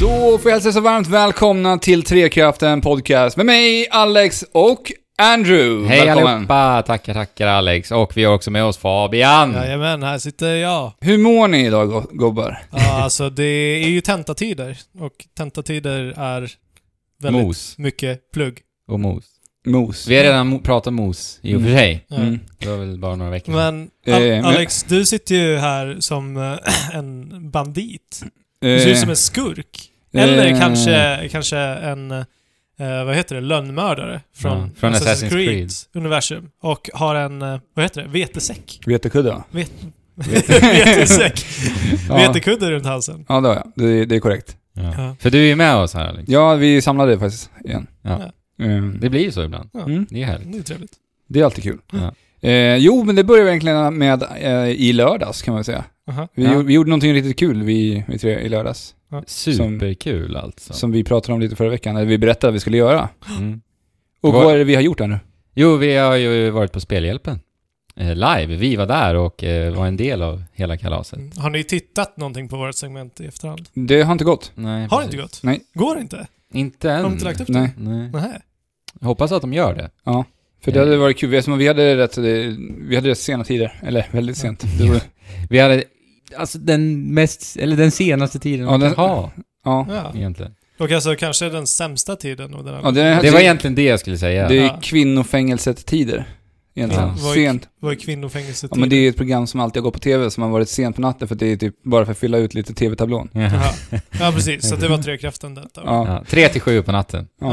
Då får jag hälsa så varmt välkomna till Trekraften Podcast med mig, Alex och Andrew. Hej Välkommen. allihopa! Tackar, tackar Alex. Och vi har också med oss Fabian. Jajamän, här sitter jag. Hur mår ni idag go- gubbar? Ja, alltså det är ju tentatider och tentatider är väldigt Mos mycket plugg. och mos. Mos. Eh, Vi har redan mo- pratat mos, i och för sig. Ja. Mm. Det var väl bara några veckor sedan. Men Eh, Al- men- Alex, du sitter ju här som eh, en bandit. Du ser ut som en skurk. Eh, Eller eh, kanske, kanske en, eh, vad heter det, lönnmördare från, Ja, från Assassin's Creed. universum. Och har en, eh, vad heter det, vetesäck. Vetekudde? Vet- vetesäck. Ja. Vetekudde runt halsen. ja, det har jag. Det, det är korrekt. Ja. Ja. För du är ju med oss här Alex. Ja, vi samlade det faktiskt igen. Ja. Mm. Det blir ju så ibland. Ja. Mm. Det är ju härligt. Det är trevligt. Det är alltid kul. Ja. Eh, jo, men det började egentligen med eh, i lördags kan man säga. Aha. Vi, Ja. gjorde- vi gjorde någonting riktigt kul vi, vi tre i lördags. Superkul alltså. Som vi pratade om lite förra veckan, eller vi berättade att vi skulle göra. Mm. Och Vad- vad är det vi har gjort nu? Jo, vi har ju varit på Spelhjälpen. Eh, live. Vi var där och eh, var en del av hela kalaset. Mm. Har ni tittat någonting på vårt segment i efterhand? Det har inte gått. Nej, Har det precis. inte gått? Nej. Går inte? Inte än. Har de inte lagt upp det? Nej. Nej. Nej. Hoppas att de gör det. För det Nej. hade varit kul, eftersom vi hade rätt, eh, vi hade rätt sena tider. Eller väldigt sent. Det var, Vi hade alltså den mest, eller den senaste tiden Ja, man den- kan ha ja. Ja. egentligen. Och alltså kanske den sämsta tiden av den här ja det, Det var egentligen det jag skulle säga. Det är Ja. kvinnofängelset-tider. Egentligen. Ja. Vad är- Sent. var ju kvinnofängelset. Ja, men det är ett program som alltid har gått på tv, som har varit sent på natten för att det är typ bara för att fylla ut lite tv-tablån. Ja. ja. ja, precis. Så det var trekraften detta. Ja. Ja, tre till sju på natten. Ja.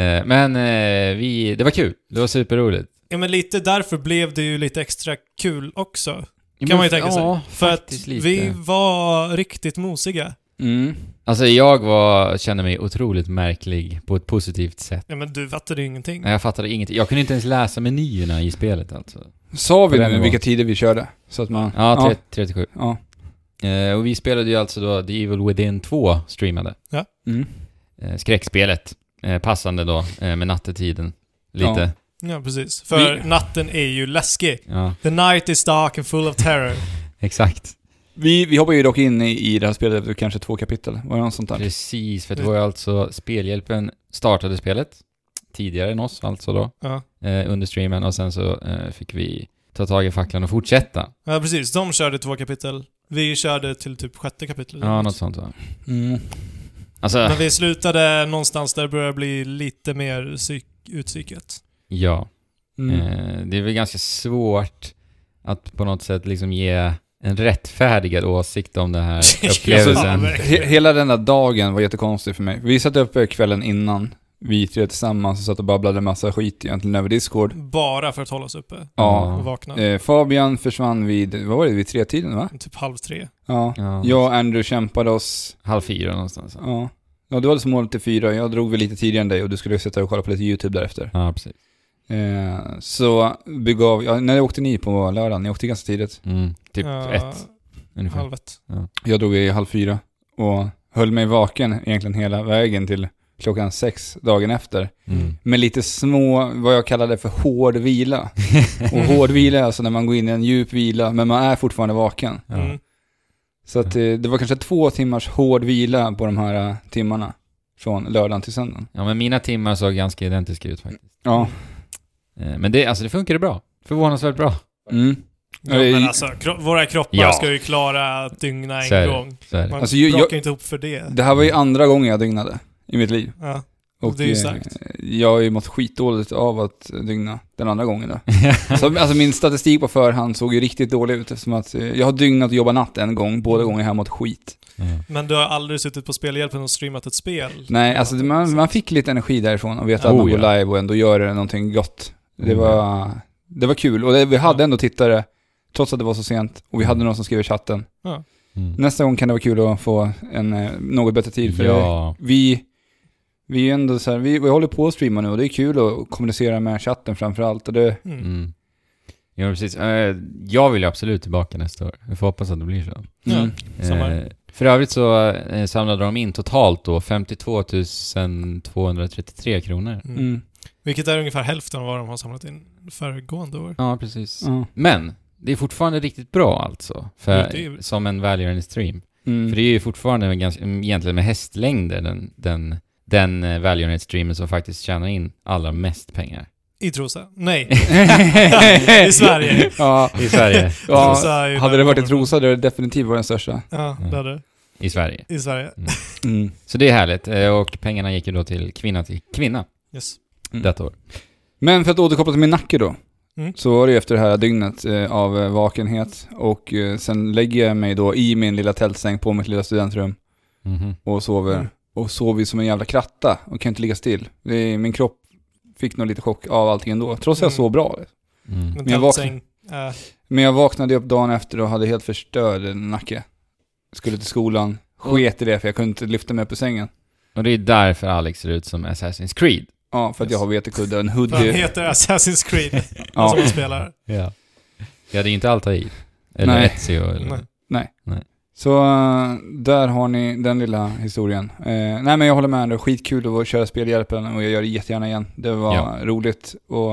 Eh, Men eh, vi, det var kul. Det var superroligt. Ja, men lite därför blev det ju lite extra kul också. Kan man ju tänka sig. Ja, För att faktiskt lite. vi var riktigt mosiga. Mm. Alltså jag var, kände mig otroligt märklig på ett positivt sätt. Ja, men du fattade ju ingenting. Nej, Jag fattade ingenting. Jag kunde inte ens läsa menyerna i spelet alltså. Sa På vi den nu nivån. vilka tider vi körde? Så att man... Ja, tre- 37. ja. Eh, Och vi spelade ju alltså då The Evil Within 2 streamade. Mm. Eh, Skräckspelet. Eh, Passande då eh, med nattetiden. Lite. Ja, precis. För Vi- natten är ju läskig. Ja, The night is dark and full of terror. exakt. Vi, vi hoppar ju dock in i, i det här spelet efter kanske två kapitel. Var det något sånt där? Precis, för det var ju alltså Spelhjälpen startade spelet tidigare än oss alltså då Ja. eh, under streamen och sen så eh, fick vi ta tag i facklan och fortsätta. ja, precis. De körde två kapitel. Vi körde till typ sjätte kapitlet. Ja, något sånt va. Mm. Alltså, Men vi slutade någonstans där det började bli lite mer psyk utpsykat. ja. Mm. Eh, det är väl ganska svårt att på något sätt liksom ge en rättfärdigad åsikt om den här Ja, upplevelsen. verkligen. He hela den där dagen var jättekonstig för mig. Vi satt uppe kvällen innan, vi tre tillsammans, och satt och babblade massa skit egentligen över Discord. Bara för att hålla oss uppe Ja. och vakna. Eh, Fabian försvann vid, vad var det, vid tre-tiden va? Typ halv tre. Ja. Ja, Jag och Andrew kämpade oss, Halv fyra någonstans. ja. Ja, du hade som mål till fyra, jag drog väl lite tidigare än dig och du skulle sitta och kolla på lite YouTube därefter. Ja, precis. Eh, så begav, ja, när åkte ni på lördagen? Ni åkte ganska tidigt. Mm, typ Ja, ett ungefär. Halv ett. Jag drog i halv fyra och höll mig vaken egentligen hela vägen till klockan sex dagen efter. Mm. med lite små, vad jag kallade för hård vila. Och hård vila är alltså när man går in i en djup vila, men man är fortfarande vaken. Ja. Mm. Så att, eh, det var kanske två timmars hård vila på de här eh, timmarna. Från lördagen till söndagen. ja, men mina timmar såg ganska identiska ut faktiskt. Ja. Eh, Men det, alltså det funkade bra. Förvånansvärt bra. Mm. Ja, Eh, men alltså, kro våra kroppar Ja. ska ju klara att dygna en Så är det. gång. Så är det. Man Alltså, ju- brakar jag- inte ihop för det. Det här var ju andra gången jag dygnade i mitt liv. Ja. Det är ju eh, starkt. jag har ju mått skitdåligt av att dygna den andra gången då. Så, alltså min statistik på förhand såg ju riktigt dålig ut eftersom att eh, jag har dygnat och jobbat natt en gång, båda gånger har jag mått skit. Mm. Men du har aldrig suttit på Spelhjälpen och streamat ett spel? Nej, alltså det- man, man fick lite energi därifrån och veta att Typ. Oh, man går ja. live och ändå gör det någonting gott. Det Mm. var, det var kul och det, vi hade ändå tittare, trots att det var så sent, och vi hade någon som skrev i chatten. Mm. Nästa gång kan det vara kul att få en eh, något bättre tid för det. Ja. vi, vi är ändå så här, vi, vi håller på att streama nu och det är kul att kommunicera med chatten framför allt. Och det, Mm. Mm. Ja, precis. Eh, Jag vill ju absolut tillbaka nästa år. Vi får hoppas att det blir så. Ja. mm. Samma Eh, För övrigt så eh, samlade de in totalt då 52 233 kronor. Mm. Mm. Vilket är ungefär hälften av vad de har samlat in föregående år. Ja, precis. Ja. Men, det är fortfarande riktigt bra alltså. För, Ja, det är- Som en välgörande stream. Mm. För det är ju fortfarande med ganska, mm, egentligen med hästlängder den, den, den eh, välgörenhetsstreamen som faktiskt tjänar in allra mest pengar. I Trosa? Nej, i Sverige. ja, I Sverige. ja. Trosa är ju Hade där det jag varit en kommer ifrån. trosa hade det definitivt varit den största. Ja, det hade det. I Sverige. I Sverige. Mm. Så det är härligt. Eh, Och pengarna gick ju då till kvinna till kvinna Yes. Mm. detta år. Men för att återkoppla till min nacke då. Mm. Så var det ju efter det här dygnet eh, av eh, vakenhet. Och eh, sen lägger jag mig då i min lilla tältsäng på mitt lilla studentrum Mhm. och sover. Mm. Och sover som en jävla kratta och kan inte ligga still. Det är, min kropp fick nog lite chock av allting ändå, trots att jag Mm. sov bra. Mm. Men Men jag tältsäng. Äh, Men jag vaknade upp dagen efter och hade helt förstörd nacke. Skulle till Mm. skolan, sket i det för jag kunde inte lyfta mig upp ur sängen. Och det är därför Alex ser ut som Assassin's Creed. Ja, för att jag har vetekudde och en vad han hoodie. heter Assassin's Creed, han som Ja. han spelar. Ja. Ja, det är inte Altair. Eller Nej. Ezio. Eller... Nej. Så eh, där har ni den lilla historien. Eh, nej men jag håller med, det var skitkul att köra spelhjälpen och jag gör det jättegärna igen. Det var Ja. roligt och...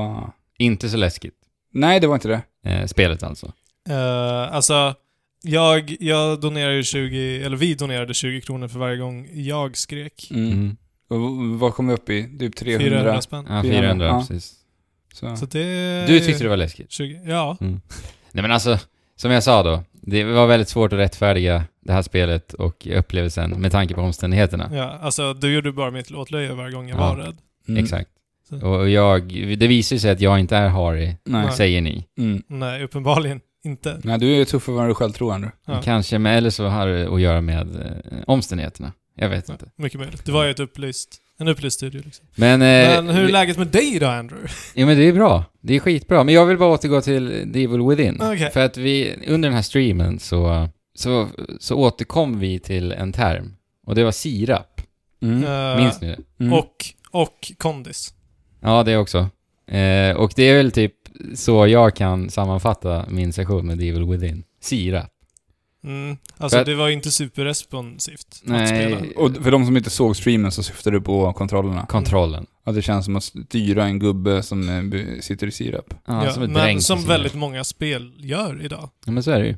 Inte så läskigt. Nej, det var inte det. Eh, spelet alltså. Eh, alltså, jag, jag donerar ju 20, eller vi donerade 20 kronor för varje gång jag skrek. Mm. Mm. Och v- vad kom vi upp i? Typ 300. 400 spänn. Ja, 400, 400, ja. precis. Så. Så det... Du tyckte det var läskigt? 20, ja. Mm. Nej men alltså, som jag sa då. Det var väldigt svårt att rättfärdiga det här spelet och upplevelsen med tanke på omständigheterna. ja. Alltså, du gjorde bara mitt låtlöje varje gång jag Ja. var rädd. Mm. Exakt. Så. Och jag, det visar ju sig att jag inte är Harry, Nej. säger ni. Mm. Nej, uppenbarligen Mm. inte. Nej, du är tuffare än vad du själv tror Andrew. Ja. Kanske, men eller så har det att göra med eh, omständigheterna. Jag vet Ja, inte. mycket möjligt. Det var ju ett upplyst, en upplyst studio liksom. Men, eh, Men hur är vi- läget med dig då, Andrew? Ja men det är bra. Det är skitbra. Men jag vill bara återgå till The Evil Within. Okej. För att vi, under den här streamen så, så, så återkom vi till en term. Och det var sirap. Mm. Eh, Minns ni det? Mm. och, och kondis. Ja, det också. Eh, och det är väl typ så jag kan sammanfatta min session med The Evil Within. Sirap. Mm. Alltså, För- det var ju inte superresponsivt att spela. Nej, Och för de som inte såg streamen så syftar du på kontrollerna. kontrollen. Att det känns som att styra en gubbe som eh, b- sitter i sirap. Ja, som ett dränk men i som sirap. väldigt många spel gör idag. Ja, men så är det ju.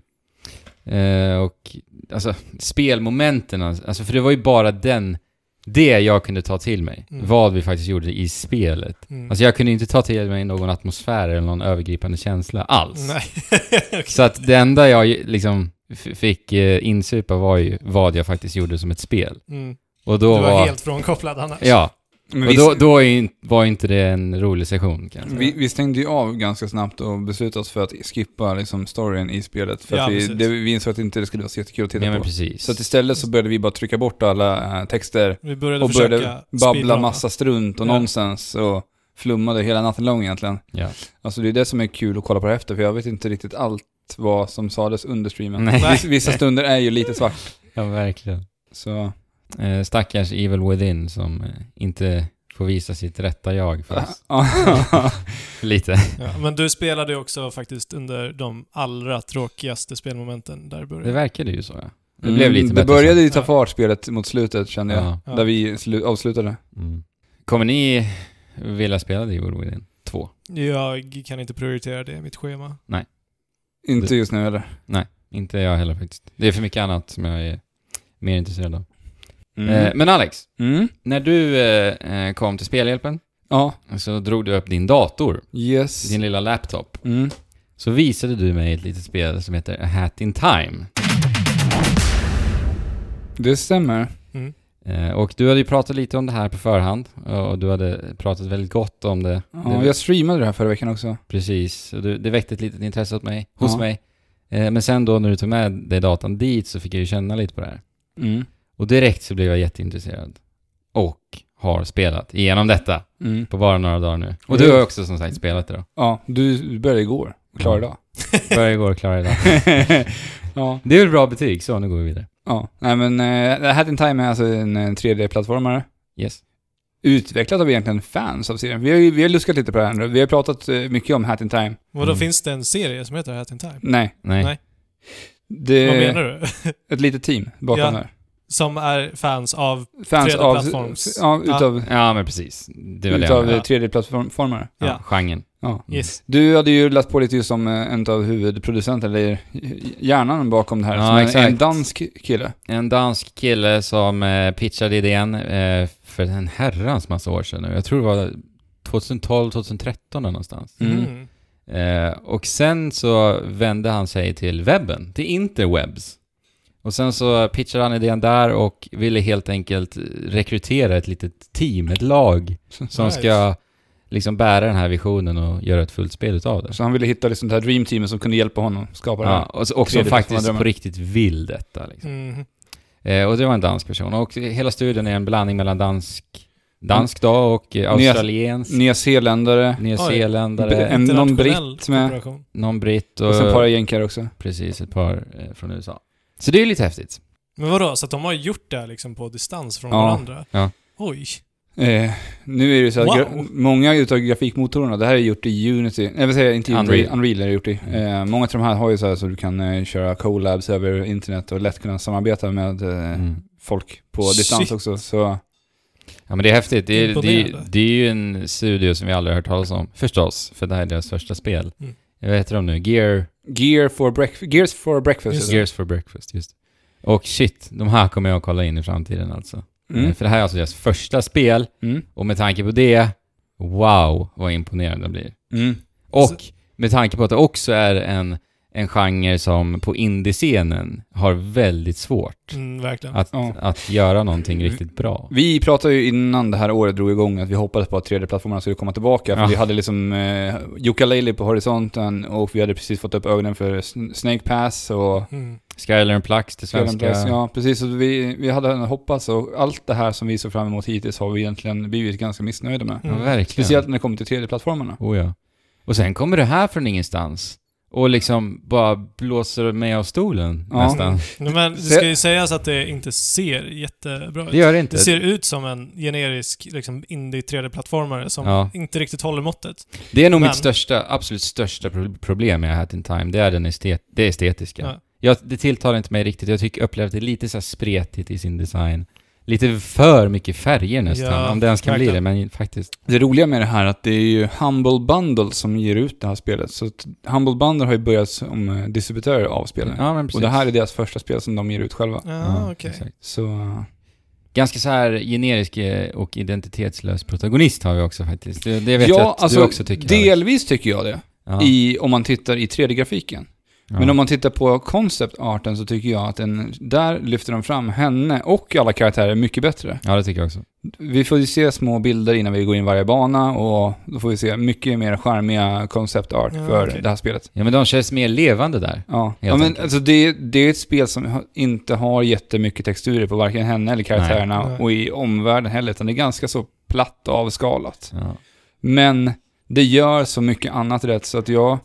Eh, och alltså, spelmomenten, alltså, för det var ju bara den, det jag kunde ta till mig. Mm. Vad vi faktiskt gjorde i spelet. Mm. Alltså jag kunde inte ta till mig någon atmosfär eller någon övergripande känsla alls. Nej. Så att det enda jag ju- liksom f- fick eh, insupa var ju vad jag faktiskt gjorde som ett spel. Mm. Och Du då var, var... helt frånkopplad annars. Ja, Men och vi, då, då är ju in- var ju inte det en rolig session kanske. vi, vi stängde ju av ganska snabbt och beslutade oss för att skippa liksom, storyn i spelet. För Ja, att vi, precis. det, vi insåg att inte det skulle vara så jättekul att titta Ja på. men precis. Så att istället så började vi bara trycka bort alla eh, texter Vi började och försöka började babbla speedrunna. massa strunt och Ja. nonsens och flummade hela natten lång egentligen. Ja. Alltså det är det som är kul att kolla på det efter, för jag vet inte riktigt allt vad som sades under streamen. Nej. Vissa, vissa stunder är ju lite svart, Ja verkligen. så Eh, stackars Evil Within som eh, inte får visa sitt rätta jag Ah. för oss. För lite. Ja, men du spelade ju också faktiskt under de allra tråkigaste spelmomenten där i början. Det verkade ju så ja. Det Mm, blev lite Det bättre började ju ta Ja. fart spelet mot slutet kände jag. Ja. Ja. Där vi slu- avslutade. Mm. Kommer ni vilja spela The Evil Within 2? Jag kan inte prioritera det i mitt schema. Inte just nu heller. Inte jag heller faktiskt. Det är för mycket annat som jag är mer intresserad av. Eh, Mm. men Alex, Mm. när du eh, eh, kom till Spelhjälpen Ja, så drog du upp din dator, yes. din lilla laptop. Mm. Så visade du mig ett litet spel som heter A Hat In Time. Det stämmer. Mm. Eh, och du hade ju pratat lite om det här på förhand eh, och du hade pratat väldigt gott om det. Ja, det jag streamade det här förra veckan också. Precis, och du, det väckte ett litet intresse åt mig, hos Ja. mig. Eh, men sen då när du tog med dig datan dit så fick jag ju känna lite på det här. Mm. Och direkt så blev jag jätteintresserad. Och har spelat igenom detta Mm. på bara några dagar nu. Och Mm. du har också som sagt spelat det då. Ja, du började igår. Klar Ja. idag. Började igår, klarade idag. ja. Det är väl bra betyg, så nu går vi vidare. ja. Nej men, uh, Hat in Time är alltså en eh, 3D-plattformare. Yes. Utvecklat av egentligen fans av serien. Vi har ju vi har luskat lite på det här nu. Vi har pratat eh, mycket om Hat in Time. Vadå, Mm. finns det en serie som heter Hat in Time? Nej. Nej. Nej. Eh. Det Vad är menar du? ett litet team bakom Ja. det här. Som är fans av... Fans 3D av... plattforms. Ja, utav, Ja, men precis. Det var det utav jag eh, 3D-plattformare. ja. Ja. Genren. Ja. Yes. Du hade ju lagt på lite just som eh, en av huvudproducenterna, eller hjärnan bakom det här. Ja, som en, exakt. en dansk kille. En dansk kille som eh, pitchade idén eh, för en herrans massa år sedan nu. Jag tror det var 2012, 2013 där någonstans. Mm. Mm. Eh, och sen så vände han sig till webben, till interwebs. Och sen så pitchade han idén där och ville helt enkelt rekrytera ett litet team, ett lag, som Nice. ska liksom bära den här visionen och göra ett fullt spel utav det. Så han ville hitta liksom det här dreamteamet som kunde hjälpa honom skapa det Ja, här. och, så- och som Tredje personen faktiskt drömmer. på riktigt vill detta. Liksom. Mm. Eh, och det var en dansk person. Och hela studion är en blandning mellan dansk, dansk då och eh, Nya- australiensk, Nya Zeeländare, nyzeeländare, En- någon Internationell britt med- korporation. någon britt och, och sen ett par jänkar också. precis ett par eh, från USA. Så det är ju lite häftigt. Men vadå, så att de har gjort det här liksom på distans från Ja, varandra? ja. Oj. Eh, nu är det ju så att Wow. gra- många utav grafikmotorerna, det här är gjort i Unity, nej vad säger jag, inte Unity, Unreal. Mm. Unreal, är det gjort i. Eh, många av de här har ju så här så du kan eh, köra collabs över internet och lätt kunna samarbeta med eh, Mm. folk på distans Shit. också. Så Ja men det är häftigt. Det är, det, är, Imponerande. det är ju en studio som vi aldrig har hört talas om. Förstås, för det här är deras första spel. Eh, Mm. Vad heter de nu? Gear, Gear for breakfast, Gears for breakfast. heter det. Gears for breakfast, just Och shit, de här kommer jag att kolla in i framtiden alltså. Mm. Eh, För det här är alltså deras första spel, Mm. och med tanke på det, wow vad imponerande de blir. Mm. Och med tanke på att det också är en, en genre som på indiescenen har väldigt svårt Mm, verkligen. att, Ja. att göra någonting riktigt bra. Vi pratade ju innan det här året drog igång att vi hoppades på att 3D-plattformarna skulle komma tillbaka. För Ja. vi hade liksom eh, Yooka-Laylee på horisonten och vi hade precis fått upp ögonen för Sn- Snake Pass och Mm. Skylar and Plux, det svenska... Ja, precis. Så vi, vi hade hoppats och allt det här som vi såg fram emot hittills har vi egentligen blivit ganska missnöjda med. Ja, Mm. verkligen. Speciellt när det kommer till 3D-plattformarna. Oh ja. Och sen kommer det här från ingenstans och liksom bara blåser mig av stolen Ja. nästan. Nej, Men det ska ju sägas att det inte ser jättebra Det ut. gör det inte. Det ser ut som en generisk liksom, indie 3D-plattformare som Ja. inte riktigt håller måttet. Det är nog men- mitt största, absolut största pro- problem med Hat in Time, det är den estet, det estetiska. Ja. Jag, det tilltalar inte mig riktigt, jag tycker upplevde det lite så här spretigt i sin design. Lite för mycket färger nästan, Ja, om det ens kan bli det, verkligen. men faktiskt. Det roliga med det här är att det är ju Humble Bundle som ger ut det här spelet. Så att Humble Bundle har ju börjat som eh, distributörer av spelen. Ja, men och det här är deras första spel som de ger ut själva. Ja, Ah, okej. exakt. Så... eh, Ganska så här generisk eh, och identitetslös protagonist har vi också faktiskt. Det, det vet ja, jag att alltså, du också tycker. Alex. delvis tycker jag det. ja, I, om man tittar i 3D-grafiken. ja. Men om man tittar på konceptarten så tycker jag att den, där lyfter de fram henne och alla karaktärer mycket bättre. ja, det tycker jag också. Vi får ju se små bilder innan vi går in i varje bana och då får vi se mycket mer charmiga konceptart Ja, för okej. det här spelet. Ja, men de känns mer levande där. Ja, Helt ja men enkelt. alltså det, det är ett spel som ha- inte har jättemycket texturer på varken henne eller karaktärerna Nej. och i omvärlden heller, utan det är ganska så platt och avskalat. Ja. Men det gör så mycket annat rätt så att jag,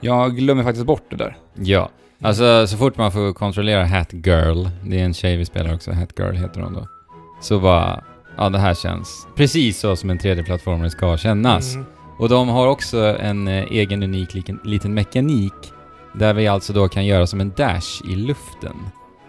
jag glömmer faktiskt bort det där. ja. Mm. Alltså, så fort man får kontrollera Hat Girl, det är en tjej vi spelar också, Hat Girl heter hon då, så bara, ja det här känns precis så som en 3D-plattformare ska kännas. Mm. Och de har också en eh, egen unik liten, liten mekanik, där vi alltså då kan göra som en dash i luften.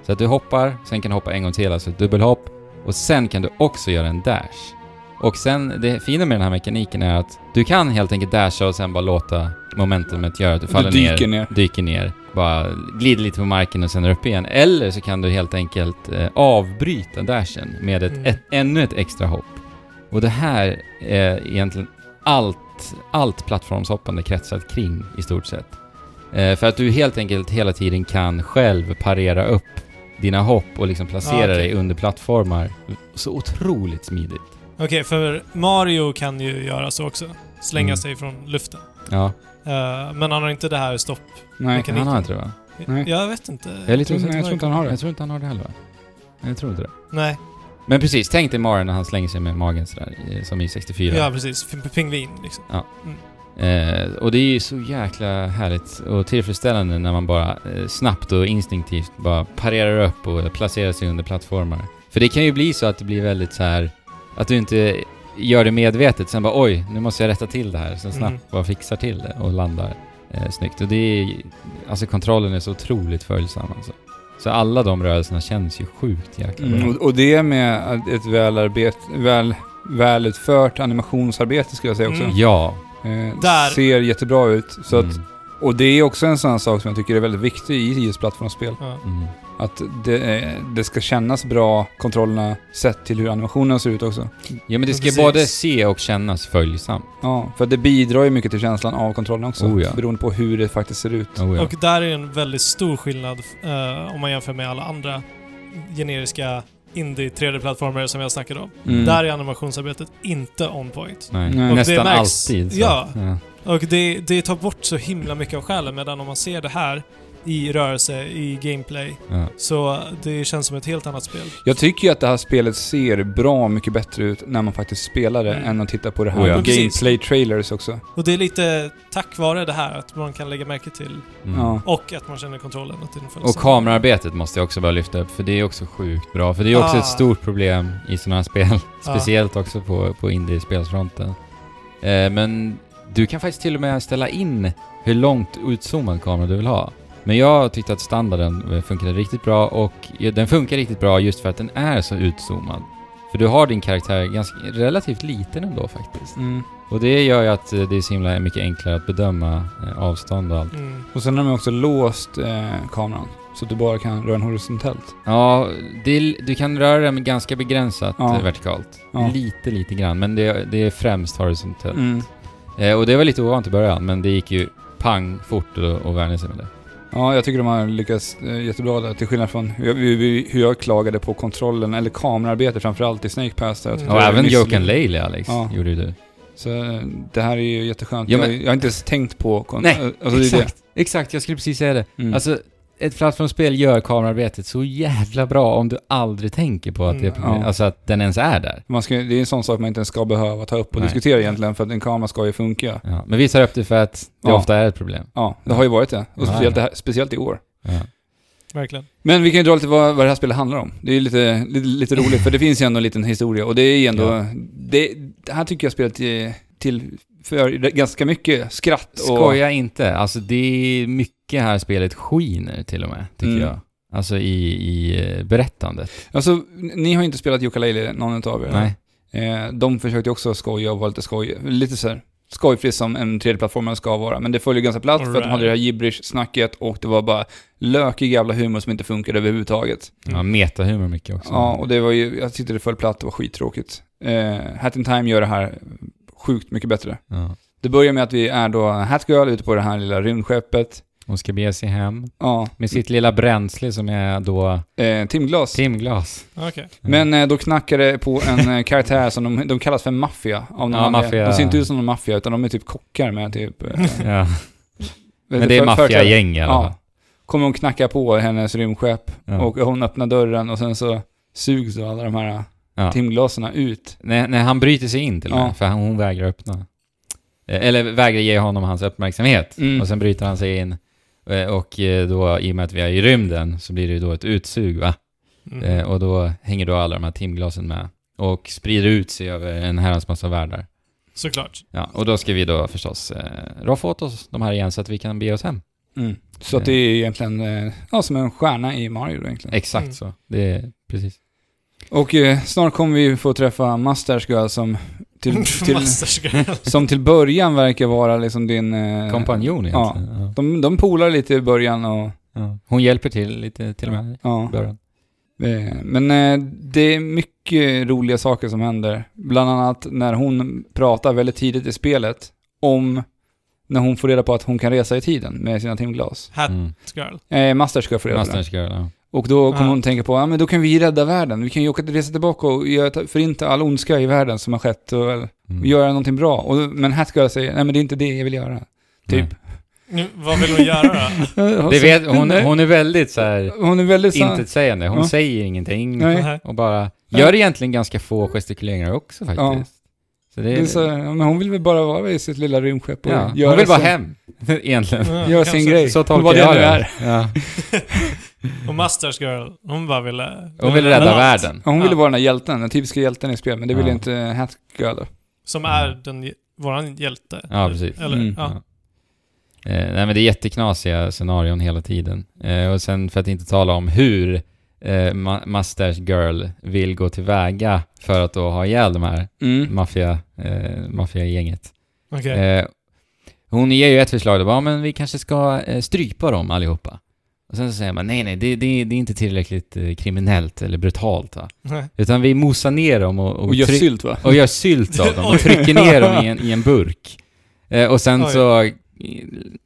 Så att du hoppar, sen kan du hoppa en gång till, alltså ett dubbelhopp, och sen kan du också göra en dash. Och sen, det fina med den här mekaniken är att du kan helt enkelt dasha och sen bara låta momentumet göra att du faller du dyker ner. ner. dyker ner, bara glider lite på marken och sen är upp igen. Eller så kan du helt enkelt eh, avbryta dashen med ett, Mm. ett, ännu ett extra hopp. Och det här är egentligen allt, allt plattformshoppande kretsat kring i stort sett. Eh, för att du helt enkelt hela tiden kan själv parera upp dina hopp och liksom placera Ah, okej. dig under plattformar. Så otroligt smidigt. Okej, för Mario kan ju göra så också. Slänga Mm. sig från luften. Ja, Eh, men han har inte det här stopp... Nej. Mekaniken. han har inte det va? Nej. Jag vet inte. Jag är lite Jag tror, osäker. nej, jag tror inte han har det. Jag tror inte han har det heller va? Nej, Jag tror inte det. Nej, Men precis, tänk dig Mario när han slänger sig med magen sådär, eh, som i 64. ja precis. F- Pingvin liksom. Eh, och det är ju så jäkla härligt och tillfredsställande när man bara eh, snabbt och instinktivt bara parerar upp och placerar sig under plattformar. För det kan ju bli så att det blir väldigt så här att du inte gör det medvetet, sen bara oj, nu måste jag rätta till det här. Sen snabbt Mm. bara fixar till det och landar eh, snyggt. Och det är, alltså kontrollen är så otroligt följsam alltså. Så alla de rörelserna känns ju sjukt jäkla bra. Mm, och, och det med ett välarbet, väl, välutfört animationsarbete skulle jag säga också. Mm. Ja, Eh, Där. Ser jättebra ut. Så att, Mm. och det är också en sån här sak som jag tycker är väldigt viktig i just plattformsspel. Ja. Mm. Att det, eh, det ska kännas bra, kontrollerna, sett till hur animationen ser ut också. Ja men det ska Precis. både se och kännas följsamt. Ja, för det bidrar ju mycket till känslan av kontrollen också. Oh ja. Beroende på hur det faktiskt ser ut. Oh, ja. Och där är en väldigt stor skillnad eh, om man jämför med alla andra generiska indie 3D-plattformar som jag snackade om. Mm. Där är animationsarbetet inte on point. Mm. Nej. Nej. Och Nästan det märks- alltid. Så. Ja. ja. Och det, det tar bort så himla mycket av själen medan om man ser det här i rörelse, i gameplay, ja. så det känns som ett helt annat spel. Jag tycker ju att det här spelet ser bra mycket bättre ut när man faktiskt spelar det Mm. än att titta på det här Oh ja. Mm. med Precis. gameplay-trailers också. Och det är lite tack vare det här att man kan lägga märke till Mm. Ja. och att man känner kontrollen. Att den följs Och kamerarbetet måste jag också bara lyfta upp, för det är också sjukt bra. För det är också Ah. ett stort problem i sådana här spel. Ja. Speciellt också på, på indie-spelsfronten. Eh, men du kan faktiskt till och med ställa in hur långt utzoomad kamera du vill ha. Men jag tyckte att standarden eh, funkade riktigt bra och eh, den funkar riktigt bra just för att den är så utzoomad. För du har din karaktär ganska relativt liten ändå faktiskt. Mm. Och det gör ju att eh, det är så himla mycket enklare att bedöma eh, avstånd och allt. Mm. Och sen har de också låst eh, kameran. Så att du bara kan röra den horisontellt. Ja, det, är- du kan röra den ganska begränsat Ja. eh, vertikalt. Ja. Lite, lite grann, men det, det är främst horisontellt. Mm. Eh, och det var lite ovant i början, men det gick ju pang fort att att vänja sig med det. Ja, jag tycker de har lyckats eh, jättebra där. Till skillnad från hur jag, hur vi- hur jag klagade på kontrollen, eller kamerarbetet framförallt i Snake Pass. Där. Jag Mm. tyckte Och det var även misslyckat. Joke and Laley, Alex, Ja. gjorde ju du. Så eh, det här är ju jätteskönt. Ja, jag, men- jag har inte ens tänkt på... Kon- Nej, eh, alltså, det är exakt, exakt, jag skulle precis säga det. Det. Mm. Alltså, ett plattformsspel gör kamerarbetet så jävla bra om du aldrig tänker på att, det är Mm, ja. alltså att den ens är där. man ska, det är en sån sak man inte ens ska behöva ta upp och Nej. diskutera egentligen, för att en kamera ska ju funka. Ja. Men vi tar upp det för att det Ja. ofta är ett problem. Ja, det har ju varit det. Ja, Och speciellt, det ja. här, speciellt i år. Ja. Verkligen. Men vi kan ju dra lite vad, vad det här spelet handlar om. Det är ju lite, lite, lite roligt, för det finns ju ändå en liten historia. Och det är ju ändå... Ja. Det, det här tycker jag spelet till, till för ganska mycket skratt och... Skoja inte. Alltså det är mycket här spelet skiner till och med, tycker Mm. jag. Alltså i, i eh, berättandet. Alltså, n- ni har ju inte spelat Yooka-Laylee, någon utav er. Nej. Eh, de försökte ju också skoja och vara lite skoj, lite så här skojfri som en 3D-plattformare ska vara. Men det föll ju ganska platt för att de Alright. hade det här gibberish-snacket och det var bara lökig jävla humor som inte funkade överhuvudtaget. Mm. Ja, metahumor mycket också. Ja, och det var ju, jag tyckte det föll platt, det var skittråkigt. Eh, Hat in Time gör det här sjukt mycket bättre. Ja. Det börjar med att vi är då Hatgirl ute på det här lilla rymdskeppet. Hon ska bege sig hem Ja, med sitt lilla bränsle som är då eh, timglas. timglas. Okej. Men eh, då knackar det på en eh, karaktär som de, de kallas för maffia. Av någon Ja, anledning. maffia. De ser inte ut som någon maffia, utan de är typ kockar med typ... eh, Ja. för- Men det är förkläder. maffiagäng i alla fall. Ja. Kommer hon knacka på hennes rymdskepp Ja. och hon öppnar dörren och sen så sugs då alla de här Ja. ja. timglaserna ut. Nej, nej, han bryter sig in till och med, Ja. för han- hon vägrar öppna. Eh, Eller vägrar ge honom hans uppmärksamhet. Mm. Och sen bryter han sig in. Eh, Och eh, då, i och med att vi är i rymden, så blir det ju då ett utsug, va? Mm. Eh, och då hänger då alla de här timglasen med och sprider ut sig över en herrans massa världar. Såklart. Ja, och då ska vi då förstås eh, roffa åt oss de här igen så att vi kan bege oss hem. Mm. Så att det är egentligen eh, ja, som en stjärna i Mario då egentligen. Exakt Mm. så. Det är precis. Och eh, snart kommer vi få träffa Mustache Girl som till, till, Masters Girl. som till början verkar vara liksom din... Eh, Kompanjon egentligen. Ja. De, de polar lite i början och... Ja. Hon hjälper till lite till och med Ja. i början. Eh, Men eh, det är mycket roliga saker som händer. Bland annat när hon pratar väldigt tidigt i spelet om när hon får reda på att hon kan resa i tiden med sina timglas. Hat Mm. Girl. Eh, Mustache Girl får reda på det. Mustache Girl, ja. Och då kommer Ja. hon tänka på, ja men då kan vi reda världen. Vi kan ju åka resa tillbaka och göra- förinta all ondska i världen som har skett och eller, Mm. och göra någonting bra. Och, men Hatgirl säger, nej men det är inte det jag vill göra. Typ. Nu, vad vill hon göra då? Nej. Det vet, hon, hon är väldigt så här hon är väldigt så... intetsägande. Hon Ja. säger ingenting Nej. Nej. och bara gör egentligen ganska få gestikuleringar också faktiskt. Så Det det är är, så ja, men hon vill väl bara vara i sitt lilla rymdskepp och ja. göra Hon vill bara sin, hem, egentligen. Ja, göra kanske. sin grej. Så tolkar Vad det jag nu det. är. Ja. Och Masters Girl, hon bara ville... Hon vill rädda världen. Ja, Hon Ja. ville vara den här hjälten, den typiska hjälten i spel, men det ville Ja. inte Hatgirl. Som är den, våran hjälte. Ja, precis. Eller, Mm. ja. Eh, nej men det är jätteknasiga scenarion hela tiden. Eh, och sen för att inte tala om hur eh, Ma- Mustache Girl vill gå tillväga för att då ha ihjäl de här Mm. maffia, eh, maffiagänget. Okej. Eh, hon ger ju ett förslag då, bara, "Ja, men vi kanske ska eh, strypa dem allihopa. Och sen så säger man, nej nej, det, det, det är inte tillräckligt eh, kriminellt eller brutalt va. Nej. Utan vi mosar ner dem och, Och gör tryck- sylt va? och gör sylt av dem och trycker ner dem i en, i en burk. Eh, och sen Oj. så, eh,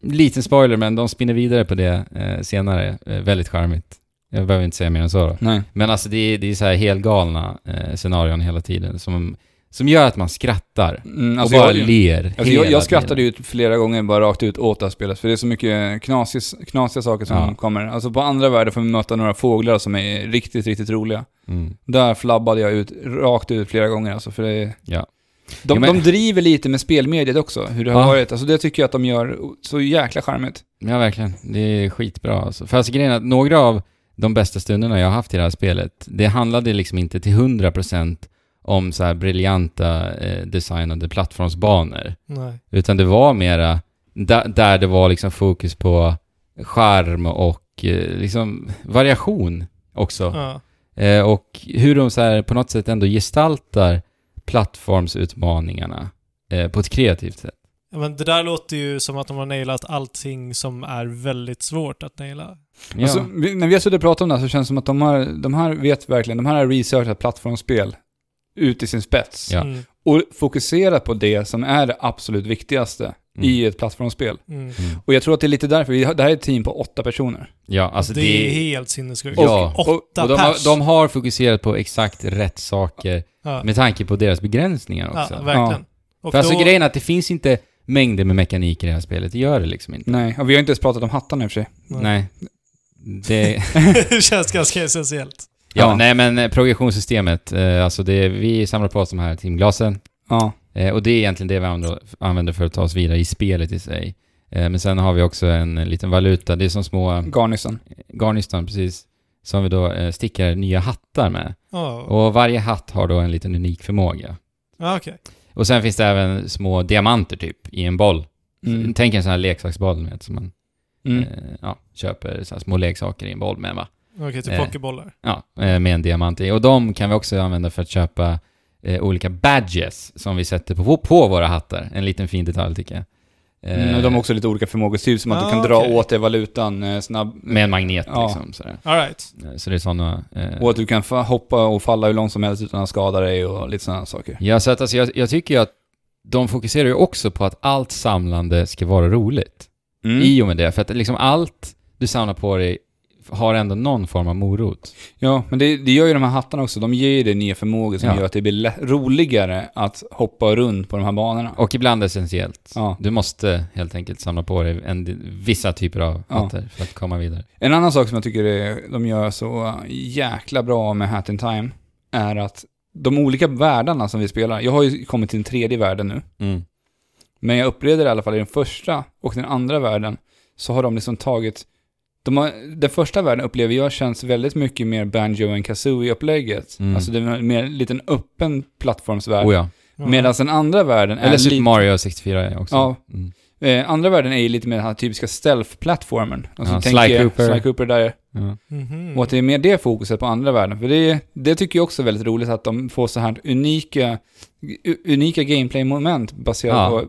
liten spoiler men de spinner vidare på det eh, senare. Eh, väldigt charmigt. Jag behöver inte säga mer än så då. Nej. Men alltså det är, det är så här helgalna eh, scenarion hela tiden som, som gör att man skrattar. Mm, alltså och bara jag, ler alltså jag, hela jag skrattade tiden. ju flera gånger bara rakt ut åt det här spelet, för det är så mycket knasig, knasiga saker som Ja. kommer. Alltså på andra världar får vi möta några fåglar som är riktigt, riktigt roliga. Mm. Där flabbade jag ut, rakt ut flera gånger alltså, för det är... Ja. De, Ja, men- de driver lite med spelmediet också, hur det har Ja. varit. Alltså det tycker jag att de gör så jäkla charmigt. Ja, verkligen. Det är skitbra alltså. För alltså grejen är att några av de bästa stunderna jag har haft i det här spelet, det handlade liksom inte till 100% om så här briljanta eh, designade plattformsbanor. Nej. Utan det var mera där, där det var liksom fokus på charm och eh, liksom variation också. Ja. Eh, och hur de så här på något sätt ändå gestaltar plattformsutmaningarna eh, på ett kreativt sätt. Ja, men det där låter ju som att de har nailat allting som är väldigt svårt att naila. Ja. Alltså, vi, när vi har suttit och pratat om det här så känns det som att de här, de här vet verkligen, de här har researchat plattformsspel ut i sin spets. Ja. Mm, Och fokuserat på det som är det absolut viktigaste i ett plattformsspel. mm. Mm. Och jag tror att det är lite därför, vi har, det här är ett team på åtta personer. ja, alltså det, det, är helt sinnessjukt. Ja. Och- och- Åtta Och de, pers! har, de har fokuserat på exakt rätt saker ja. med tanke på deras begränsningar också. ja, verkligen. Och För alltså då- grejen är att det finns inte mängder med mekanik i det här spelet, det gör det liksom inte. Nej, och vi har inte ens pratat om hattarna i och för sig. Nej. Nej. Det, det känns ganska essentiellt. ja, Ja. nej men eh, progressionssystemet, eh, alltså det, vi samlar på oss de här timglasen Ja, eh, och det är egentligen det vi använder- använder för att ta oss vidare i spelet i sig. Eh, men sen har vi också en eh, liten valuta, det är som små garnisen. garnistan precis, som vi då eh, stickar nya hattar med. Ja, Och varje hatt har då en liten unik förmåga. ja okej. Och sen finns det även små diamanter typ i en boll. Mm. Tänk en sån här leksaksboll med som man Mm. eh, ja, köper så här små leksaker i en boll med va? Okej, typ Eh. pokébollar. Ja, eh, med en diamant i. Och de kan vi också använda för att köpa eh, olika badges som vi sätter på, på våra hattar. En liten fin detalj tycker jag. Eh, Mm, och de har också lite olika förmågor, typ som att Ah, du kan dra okej. åt dig valutan eh, snabb... Med en magnet Ja. liksom. Sådär. All right. Eh, Så det är sådana... Eh, Och att du kan fa- hoppa och falla hur långt som helst utan att skada dig och lite sådana saker. ja, så att, alltså, jag, jag tycker ju att de fokuserar ju också på att allt samlande ska vara roligt. Mm. I och med det, för att liksom allt du samlar på dig har ändå någon form av morot. Ja, men det, det gör ju de här hattarna också. De ger ju dig nya förmågor som Ja. gör att det blir lä- roligare att hoppa runt på de här banorna. Och ibland essentiellt. Ja. Du måste helt enkelt samla på dig en, vissa typer av Ja. hattar för att komma vidare. En annan sak som jag tycker är, de gör så jäkla bra med Hat in Time är att de olika världarna som vi spelar, jag har ju kommit till den tredje världen nu, men jag upplevde det i alla fall i den första och den andra världen, så har de liksom tagit, de har, den första världen upplever jag känns väldigt mycket mer Banjo and Kazooie-upplägget. Mm. Alltså det är mer en liten öppen plattformsvärld. Oh ja. Ja. Medan den andra världen är Eller Super lite- Mario 64 också. Ja. Mm. Eh, andra världen är ju lite mer den här typiska stealth-plattformen. Alltså, Ja, tänker Sly jag- Cooper. Sly Cooper där. ja. Mhm. Och att det är mer det fokuset på andra världen. För det, det tycker jag också är väldigt roligt att de får så här unika, u- unika gameplay-moment baserat Ja. på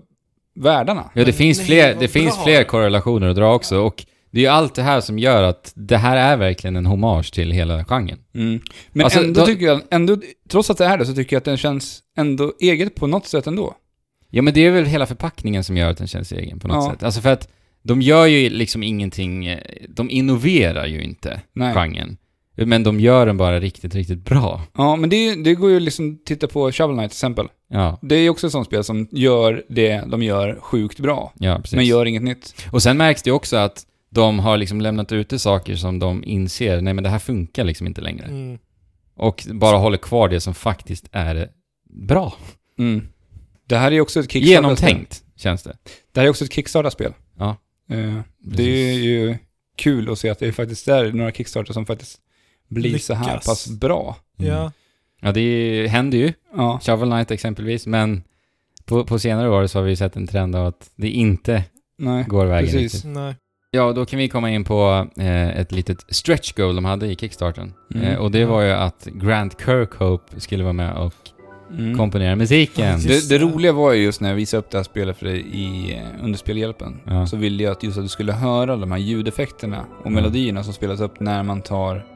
världarna. ja det Men finns nej, fler, vad det finns bra. fler korrelationer att dra också. Och det är ju allt det här som gör att det här är verkligen en hommage till hela genren. Mm. Men Alltså, ändå då- tycker jag, ändå, trots att det är det, så tycker jag att den känns ändå eget på något sätt ändå. Ja men det är väl hela förpackningen som gör att den känns egen på något Ja. sätt. Alltså för att de gör ju liksom ingenting, eh, de innoverar ju inte Nej. genren. Men de gör den bara riktigt, riktigt bra. Ja, men det, är ju- det går ju liksom, titta på Shovel Knight till exempel. Ja, Det är ju också ett sånt spel som gör det de gör sjukt bra, ja precis. men gör inget nytt. Och sen märks det också att de har liksom lämnat ute saker som de inser, nej men det här funkar liksom inte längre. Mm. Och bara håller kvar det som faktiskt är bra. Mm. Det här är ju också ett kickstartat Genomtänkt, känns det. Det här är också ett Kickstarter-spel. Ja. Eh, det är Precis. ju kul att se att det är faktiskt där några Kickstarter som faktiskt blir så här Lyckas. pass bra. Ja. Ja, det är- händer ju. Ja. Shovel Knight exempelvis, men på, på senare år så har vi ju sett en trend av att det inte Nej. går vägen Precis. riktigt. Nej. Ja, då kan vi komma in på eh, ett litet stretch goal de hade i Kickstarten. Mm. Eh, och det var ju att Grant Kirkhope skulle vara med och Mm. komponera musiken. Ja, Det, Just det det. roliga var ju just när jag visade upp det här spelet för dig i, eh, under spelhjälpen. Ja. Så ville jag att just att du skulle höra de här ljudeffekterna och Mm. melodierna som spelas upp när man tar,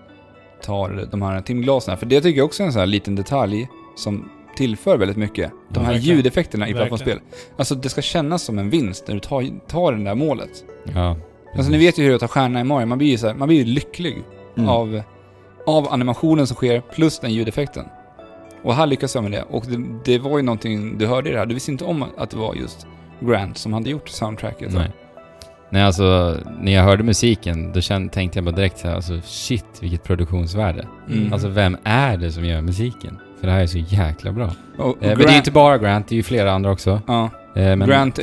tar de här timglasen. För det tycker jag också är en sån här liten detalj som tillför väldigt mycket. De Ja, här verkligen. ljudeffekterna i Verkligen. plattformsspel. Alltså det ska kännas som en vinst när du tar, tar det där målet. Ja, Alltså ni vet ju hur det är att ta stjärna i Mario, man blir ju, så här, man blir ju lycklig Mm. av, av animationen som sker plus den ljudeffekten. Och här lyckas jag med det. Och det, det var ju någonting du hörde i det här. Du visste inte om att det var just Grant som hade gjort soundtracket. Nej. Nej, alltså när jag hörde musiken då kände, tänkte jag bara direkt så här, alltså shit vilket produktionsvärde. Mm. Alltså vem är det som gör musiken? För det här är så jäkla bra. Eh, Och, och men Grant, det är ju inte bara Grant, det är ju flera andra också. ja, Eh, men, Grant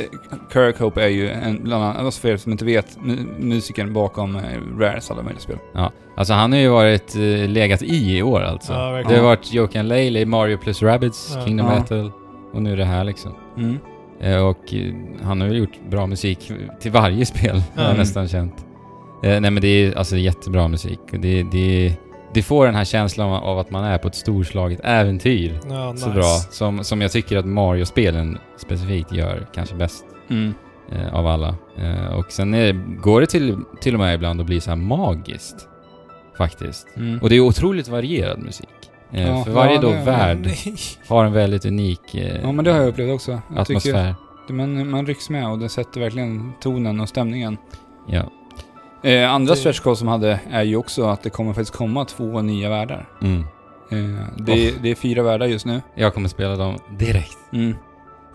Kirkhope är ju en, bland annat, alltså för er som inte vet, mu- musikern bakom eh, Rares alla möjliga spel. Alltså han har ju varit, eh, legat i i år alltså. Ja, verkligen. det har varit Joke and Laylee, Mario plus Rabbids, Ja. Kingdom Ja. Battle och nu det här liksom. Mm. Eh, Och eh, han har väl gjort bra musik till varje spel, har jag Mm. nästan känt. Eh, Nej men det är alltså jättebra musik. Det, det, det får den här känslan av- av att man är på ett storslaget äventyr. Ja, nice. Så bra. Som, som jag tycker att Mario-spelen specifikt gör kanske bäst Mm. eh, av alla. Eh, och sen är, går det till, till och med ibland att bli så här magiskt. Faktiskt. Mm. Och det är otroligt varierad musik. Eh, Ja, för varje ja, då det- värld har en väldigt unik eh, Ja men det har jag upplevt också. Jag tycker atmosfär. man, man rycks med och det sätter verkligen tonen och stämningen. Ja. Eh, andra Det- stretch goals som hade är ju också att det kommer faktiskt komma två nya världar. Mm. Eh, det, det är fyra världar just nu. Jag kommer spela dem direkt. Mm.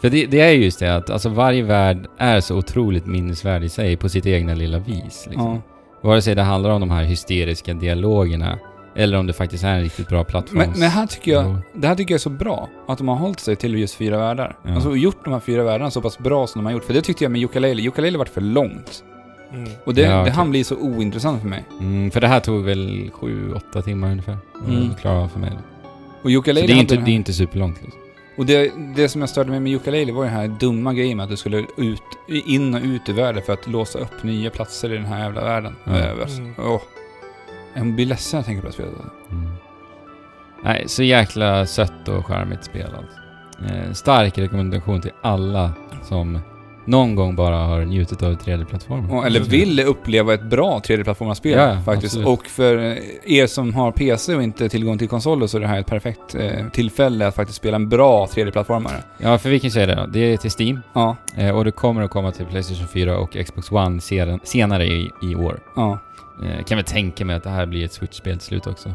För det, det är ju just det att alltså varje värld är så otroligt minnesvärd i sig på sitt egna lilla vis. Liksom. Ja. Vare sig det handlar om de här hysteriska dialogerna eller om det faktiskt är en riktigt bra plattform. Men, men här tycker jag, det här tycker jag är så bra, att de har hållit sig till just fyra världar. Ja. Alltså gjort de här fyra världarna så pass bra som de har gjort. För det tyckte jag med Yooka-Laylee. Yooka-Laylee vart för långt. Mm. Och det, Ja, det okej. han blir så ointressant för mig. Mm, för det här tog väl sju, åtta timmar ungefär. Mm. Mm. Klara av för mig. Så Och det Yooka-Laylee är, hade inte, den det är här- inte superlångt liksom. Och det, det som jag störde mig med Yooka-Laylee var ju den här dumma grejen med att du skulle ut, in och ut ur världen för att låsa upp nya platser i den här jävla världen. Ja. Eh, alltså, Mm. Åh. Jag blir ledsen när jag tänker på det här spelet. Mm. Nej, så jäkla sött och charmigt spel alltså. Eh, stark rekommendation till alla som någon gång bara har njutit av 3D-plattformen. Ja, eller vill uppleva ett bra 3D-plattformarspel Ja, ja, faktiskt. absolut. Och för eh, er som har PC och inte tillgång till konsoler så är det här ett perfekt eh, tillfälle att faktiskt spela en bra 3D-plattformare. Ja, för vi kan säga det då. Det är till Steam Ja, eh, och det kommer att komma till Playstation 4 och Xbox One sedan, senare i, i år. ja. Eh, kan väl tänka mig att det här blir ett Switch-spel till slut också.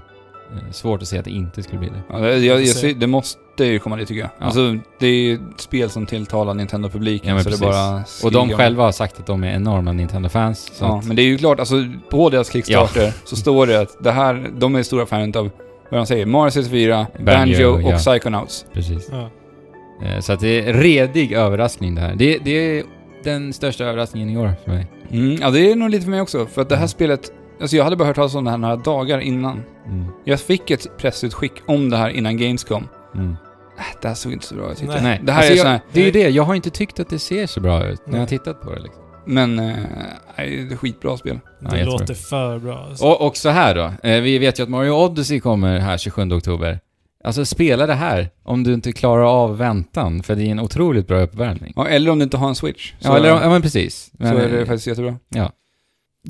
Eh, svårt att se att det inte skulle bli det. ja det, jag, jag, Precis. ser- det måste ju komma dit tycker jag. Ja. Alltså, det är ju ett spel som tilltalar Nintendo-publiken Ja, men så det precis. bara Och de skriker. själva har sagt att de är enorma Nintendo-fans. Så Ja, att, men det är ju klart, alltså på deras Kickstarter så står det att det här, de är stora fan av vad de säger, Mario 64, Banjo, Banjo, och ja. Psychonauts. precis. Ja. Eh, så att det är en redig överraskning det här. Det, det är den största överraskningen i år för mig. Mm, ja, det är nog lite för mig också, för att det här Mm. spelet, alltså jag hade bara hört talas om det här några dagar innan. Jag fick ett pressutskick om det här innan Gamescom. Mm. Äh, Det här såg inte så bra ut tyckte Nej. jag. Nej, Det här alltså är jag, sån här, Det är ju det, jag har inte tyckt att det ser så bra ut när jag har Nej. tittat på det liksom. men eh, nej, det är skitbra spel. Ja, Det jättebra. låter för bra. alltså. Och, och så här då, eh, vi vet ju att Mario Odyssey kommer här 27 oktober. Alltså spela det här om du inte klarar av väntan, för det är en otroligt bra uppvärmning. Ja, eller om du inte har en Switch. Så, Ja, eller, ja men precis. Men, så är det eh, faktiskt jättebra. Ja.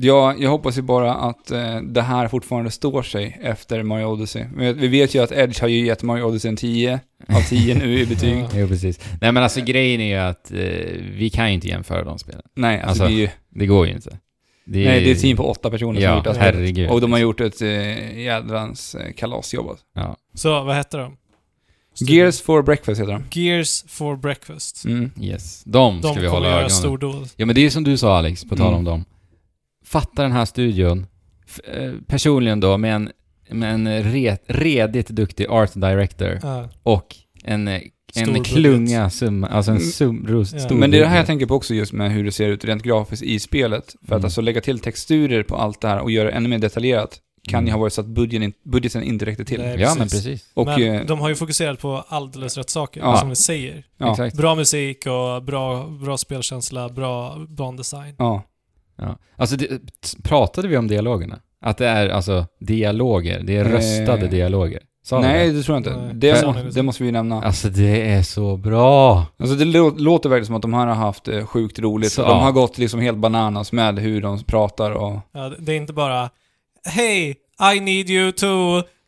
Ja, jag hoppas ju bara att eh, det här fortfarande står sig efter Mario Odyssey. Men vi vet ju att Edge har ju gett Mario Odyssey en 10 av 10 nu i betyg. Ja. Jo, precis. Nej men alltså grejen är ju att eh, vi kan ju inte jämföra de spelen. Nej, alltså, Alltså, det är ju... Det går ju inte. Det Nej, det är ett team på åtta personer som har Ja, gjort det här spelet. herregud. Och de har gjort ett eh, jädrans eh, kalasjobb. alltså. Så vad hette de? Gears for breakfast heter de. Gears for breakfast. Mm. Yes, de ska De vi kommer hålla göra ögonen på. stordåd. Ja men det är som du sa Alex, på tal Mm. om dem. Fatta den här studion, f- eh, personligen då, med en, med en re, redigt duktig art director Ja. och en, eh, Stor en budget. klunga summa, alltså en Mm. sum, ros, Ja. stor Men det är det här jag budget. tänker på också just med hur det ser ut rent grafiskt i spelet. För att Mm. alltså lägga till texturer på allt det här och göra det ännu mer detaljerat kan ju ha varit så att budgeten, in- budgeten inte räckte till. Nej. Mm. Ja men Precis. precis. Och Men eh, de har ju fokuserat på alldeles rätt saker, Ja. som vi säger. ja, Exakt. Bra musik och bra, bra spelkänsla, bra bandesign. ja, Ja. Alltså det, t- pratade vi om dialogerna? Att det är alltså dialoger, det är Eh. röstade dialoger. Sa Nej, du det tror jag inte. Nej, Det, jag må, sa det. det måste vi nämna. det? Alltså det är så bra! Alltså det lå- låter verkligen som att de här har haft eh, sjukt roligt. Så, de har ja. gått liksom helt bananas med hur de pratar och... Ja, det- det är inte bara Hey, I need you to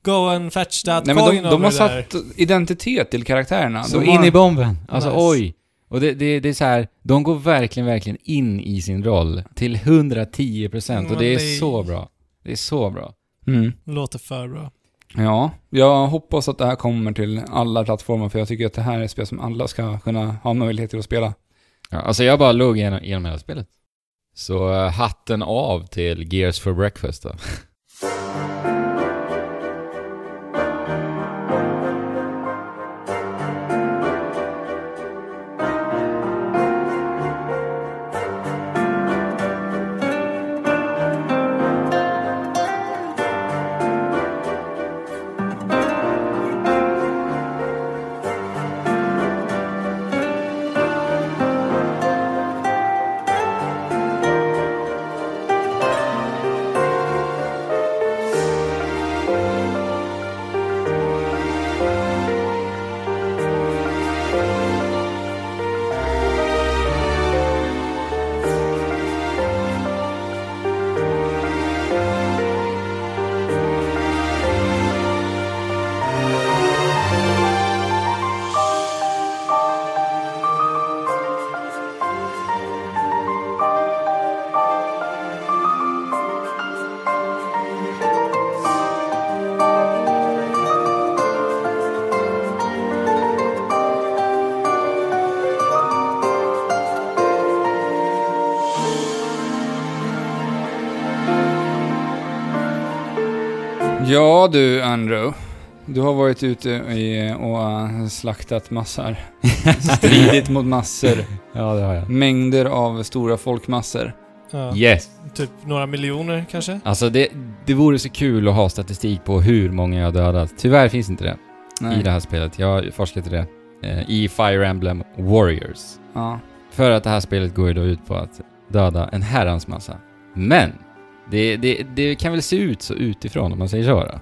go and fetch that Nej men de, coin de over har there." satt identitet till karaktärerna. Så de in har, i bomben! Alltså Nice. oj! Och det, det, det är så här, de går verkligen, verkligen in i sin roll till 110% och Men det är det- så bra. Det är så bra. mm. Låter för bra. Ja, jag hoppas att det här kommer till alla plattformar för jag tycker att det här är ett spel som alla ska kunna ha möjligheter att spela. Ja, alltså jag bara låg igenom, igenom hela spelet. Så eh, hatten av till Gears for Breakfast då. Ja du Andrew, du har varit ute i, och eh, slaktat massor. Stridit mot massor. Ja, det har jag. Mängder av stora folkmassor. Ja, Yes! Typ några miljoner kanske? Alltså det, det vore så kul att ha statistik på hur många jag har dödat. Tyvärr finns inte det i det här spelet. Jag har forskat i det. eh, I Fire Emblem Warriors. Ja. För att det här spelet går ju då ut på att döda en herrans massa. Men! Det, det, det kan väl se ut så utifrån om man säger så då.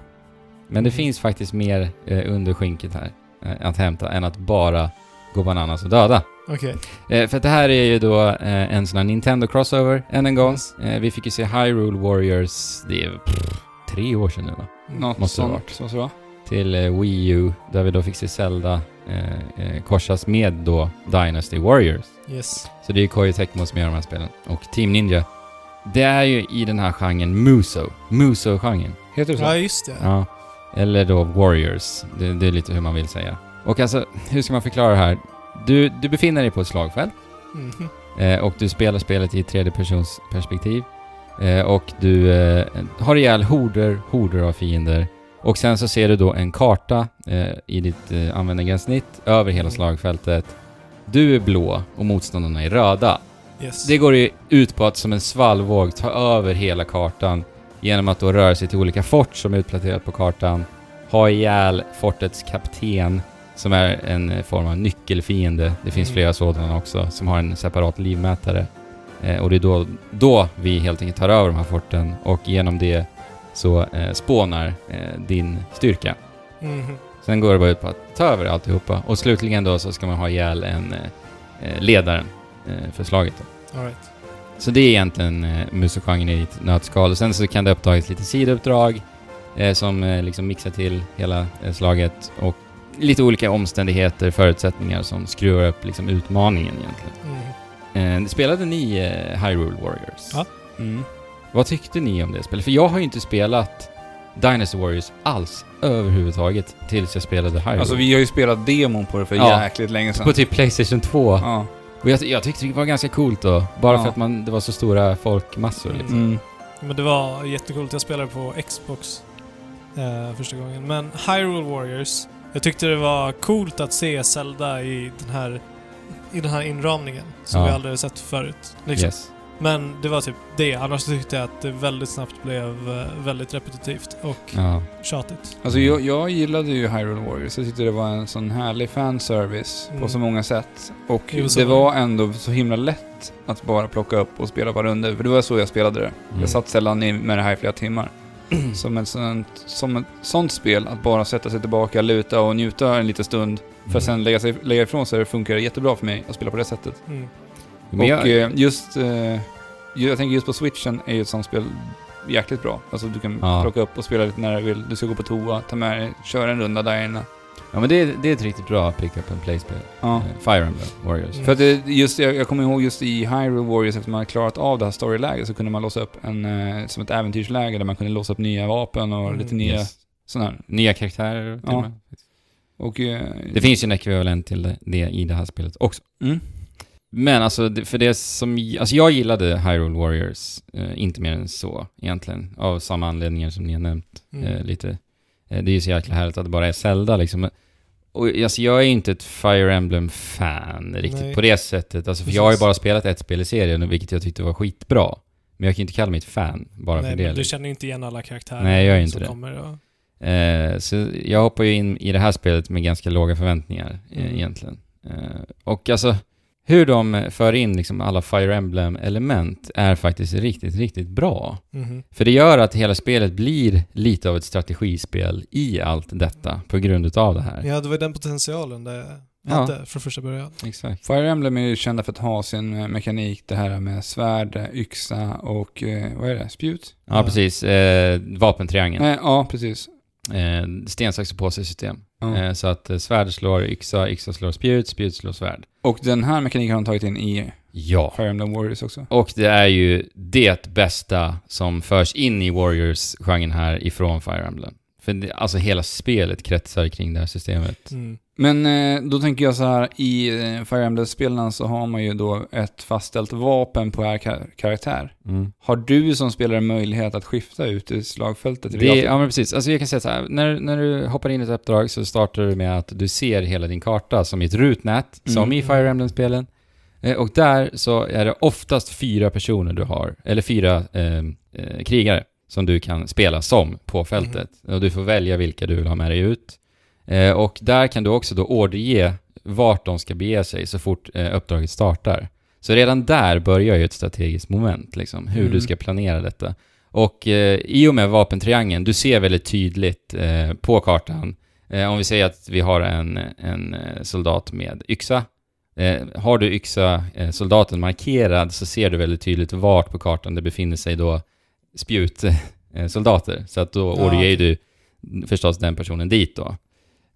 Men det finns faktiskt mer eh, under skynket här eh, att hämta än att bara gå bananas och döda. Okej. Eh, för att det här är ju då eh, en sån här Nintendo Crossover, än en gång. Yes. Eh, vi fick ju se Hyrule Warriors, det är pff, tre år sedan nu va? Mm, Något Måste det ha sånt. Så, så. Till eh, Wii U, där vi då fick se Zelda eh, eh, korsas med då Dynasty Warriors. Yes. Så det är ju Koei Tecmo som gör de här spelen. Och Team Ninja. Det är ju i den här genren Muso. Muso-genren. Heter det så? Ja, just det. Ja. Eller då Warriors. Det, det är lite hur man vill säga. Och alltså, hur ska man förklara det här? Du, du befinner dig på ett slagfält Mhm. eh, och du spelar spelet i tredje persons perspektiv. Eh, och du eh, har ihjäl horder, horder av fiender. Och sen så ser du då en karta eh, i ditt eh, användargränssnitt över hela Mm. slagfältet. Du är blå och motståndarna är röda. Yes. Det går ju ut på att som en svallvåg ta över hela kartan genom att då röra sig till olika fort som är utplacerat på kartan, ha ihjäl fortets kapten som är en eh, form av nyckelfiende. Det finns Mm. flera sådana också som har en separat livmätare. Eh, och det är då, då vi helt enkelt tar över de här forten och genom det så eh, spånar eh, din styrka. Mhm. Sen går det bara ut på att ta över alltihopa och slutligen då så ska man ha ihjäl en eh, eh, ledaren eh, för slaget. Då. All right. Så det är egentligen eh, musikgenren i ett nötskal. Och sen så kan det uppdagas lite sidouppdrag eh, som eh, liksom mixar till hela eh, slaget och lite olika omständigheter, förutsättningar som skruvar upp liksom utmaningen egentligen. Mhm. Eh, spelade ni eh, Hyrule Warriors? Ja. Mm. Vad tyckte ni om det spelet? För jag har ju inte spelat Dynasty Warriors alls överhuvudtaget tills jag spelade Hyrule. Alltså vi har ju spelat demon på det för Ja. jäkligt länge sedan. På typ Playstation 2. Ja. Och jag, jag tyckte det var ganska coolt då. Bara Ja. för att man, det var så stora folkmassor. Mm. Liksom. Mm. Men det var jättekult. Jag spelade på Xbox eh, första gången. Men Hyrule Warriors. Jag tyckte det var coolt att se Zelda i den här, i den här inramningen som Ja. vi aldrig sett förut. Mm. Liksom. Yes. Men det var typ det. Annars tyckte jag att det väldigt snabbt blev eh, väldigt repetitivt och Ja. tjatigt. Alltså jag, jag gillade ju Hyrule Warriors. Jag tyckte det var en sån härlig fanservice på Mm. så många sätt. Och Jo, så det var det. var ändå så himla lätt att bara plocka upp och spela på runder. För det var så jag spelade det. Mm. Jag satt sällan i- med det här i flera timmar. som ett, sånt, som ett sånt spel, att bara sätta sig tillbaka, luta och njuta en liten stund för att sen lägga, sig, lägga ifrån sig, det funkar jättebra för mig att spela på det sättet. Mm. Men och jag, eh, just, eh, jag tänker just på switchen är ju ett sånt spel jäkligt bra. Alltså du kan Ja. plocka upp och spela lite när du vill. Du ska gå på toa, ta med dig, köra en runda där inne. ja men det, är- det är ett riktigt bra pick-up and play-spel. Ja. Eh, Fire Emblem Warriors. Mm. För att det, just, jag, jag kommer ihåg just i Hyrule Warriors, efter man hade klarat av det här storyläget så kunde man låsa upp en, eh, som ett äventyrsläge där man kunde låsa upp nya vapen och Mm. lite nya Yes. sådana här. Nya karaktärer till Ja. och med. Och... Eh, Det finns ju en ekvivalent till det- det i det här spelet också. Mm. Men alltså, det- för det som... Alltså jag gillade Hyrule Warriors, eh, inte mer än så egentligen. Av samma anledningar som ni har nämnt Mm. eh, lite. Eh, det är ju så jäkla härligt att det bara är Zelda liksom. Och alltså, jag är inte ett Fire Emblem-fan riktigt Nej. på det sättet. Alltså, för jag har ju Precis. bara spelat ett spel i serien, vilket jag tyckte var skitbra. Men jag kan ju inte kalla mig ett fan bara Nej, för det. men du liksom. känner ju inte igen alla karaktärer Nej, jag gör inte som det. kommer. Och, Eh, så jag hoppar ju in i det här spelet med ganska låga förväntningar eh, Mm. egentligen. Eh, och alltså, hur de för in liksom alla Fire Emblem-element är faktiskt riktigt, riktigt bra. Mhm. För det gör att hela spelet blir lite av ett strategispel i allt detta på grund utav det här. Ja, det var ju den potentialen det Ja. hade från första början. Exakt. Fire Emblem är ju kända för att ha sin eh, mekanik, det här med svärd, eh, yxa och, eh, vad är det, spjut? Ja, Ja. precis. Eh, vapentriangeln. Nej, ja, precis. Eh, sten, sax och påse-system. Ja. Eh, så att eh, svärd slår yxa, yxa slår spjut, spjut slår svärd. Och den här mekaniken har de tagit in i Ja. Fire Emblem Warriors också. Och det är ju det bästa som förs in i Warriors-genren här ifrån Fire Emblem. För det, alltså hela spelet kretsar kring det här systemet. Mm. Men eh, då tänker jag så här, i eh, Fire Emblem-spelen så har man ju då ett fastställt vapen på er kar- karaktär. Har du som spelare möjlighet att skifta ut i slagfältet? i Det, realtid? ja men precis, alltså jag kan säga så här, när, när du hoppar in i ett uppdrag så startar du med att du ser hela din karta som i ett rutnät, Mm. som i Fire Emblem-spelen. Eh, Och där så är det oftast fyra personer du har, eller fyra eh, eh, krigare som du kan spela som på fältet. Och du får välja vilka du vill ha med dig ut. Eh, och där kan du också då orderge vart de ska bege sig så fort eh, uppdraget startar. Så redan där börjar ju ett strategiskt moment, liksom, hur Mm. du ska planera detta. Och eh, i och med vapentriangeln, du ser väldigt tydligt eh, på kartan, eh, om vi säger att vi har en, en eh, soldat med yxa, Eh, har du yxa-soldaten markerad så ser du väldigt tydligt vart på kartan det befinner sig då spjutsoldater. Så att då Ja, orderger du förstås den personen dit då.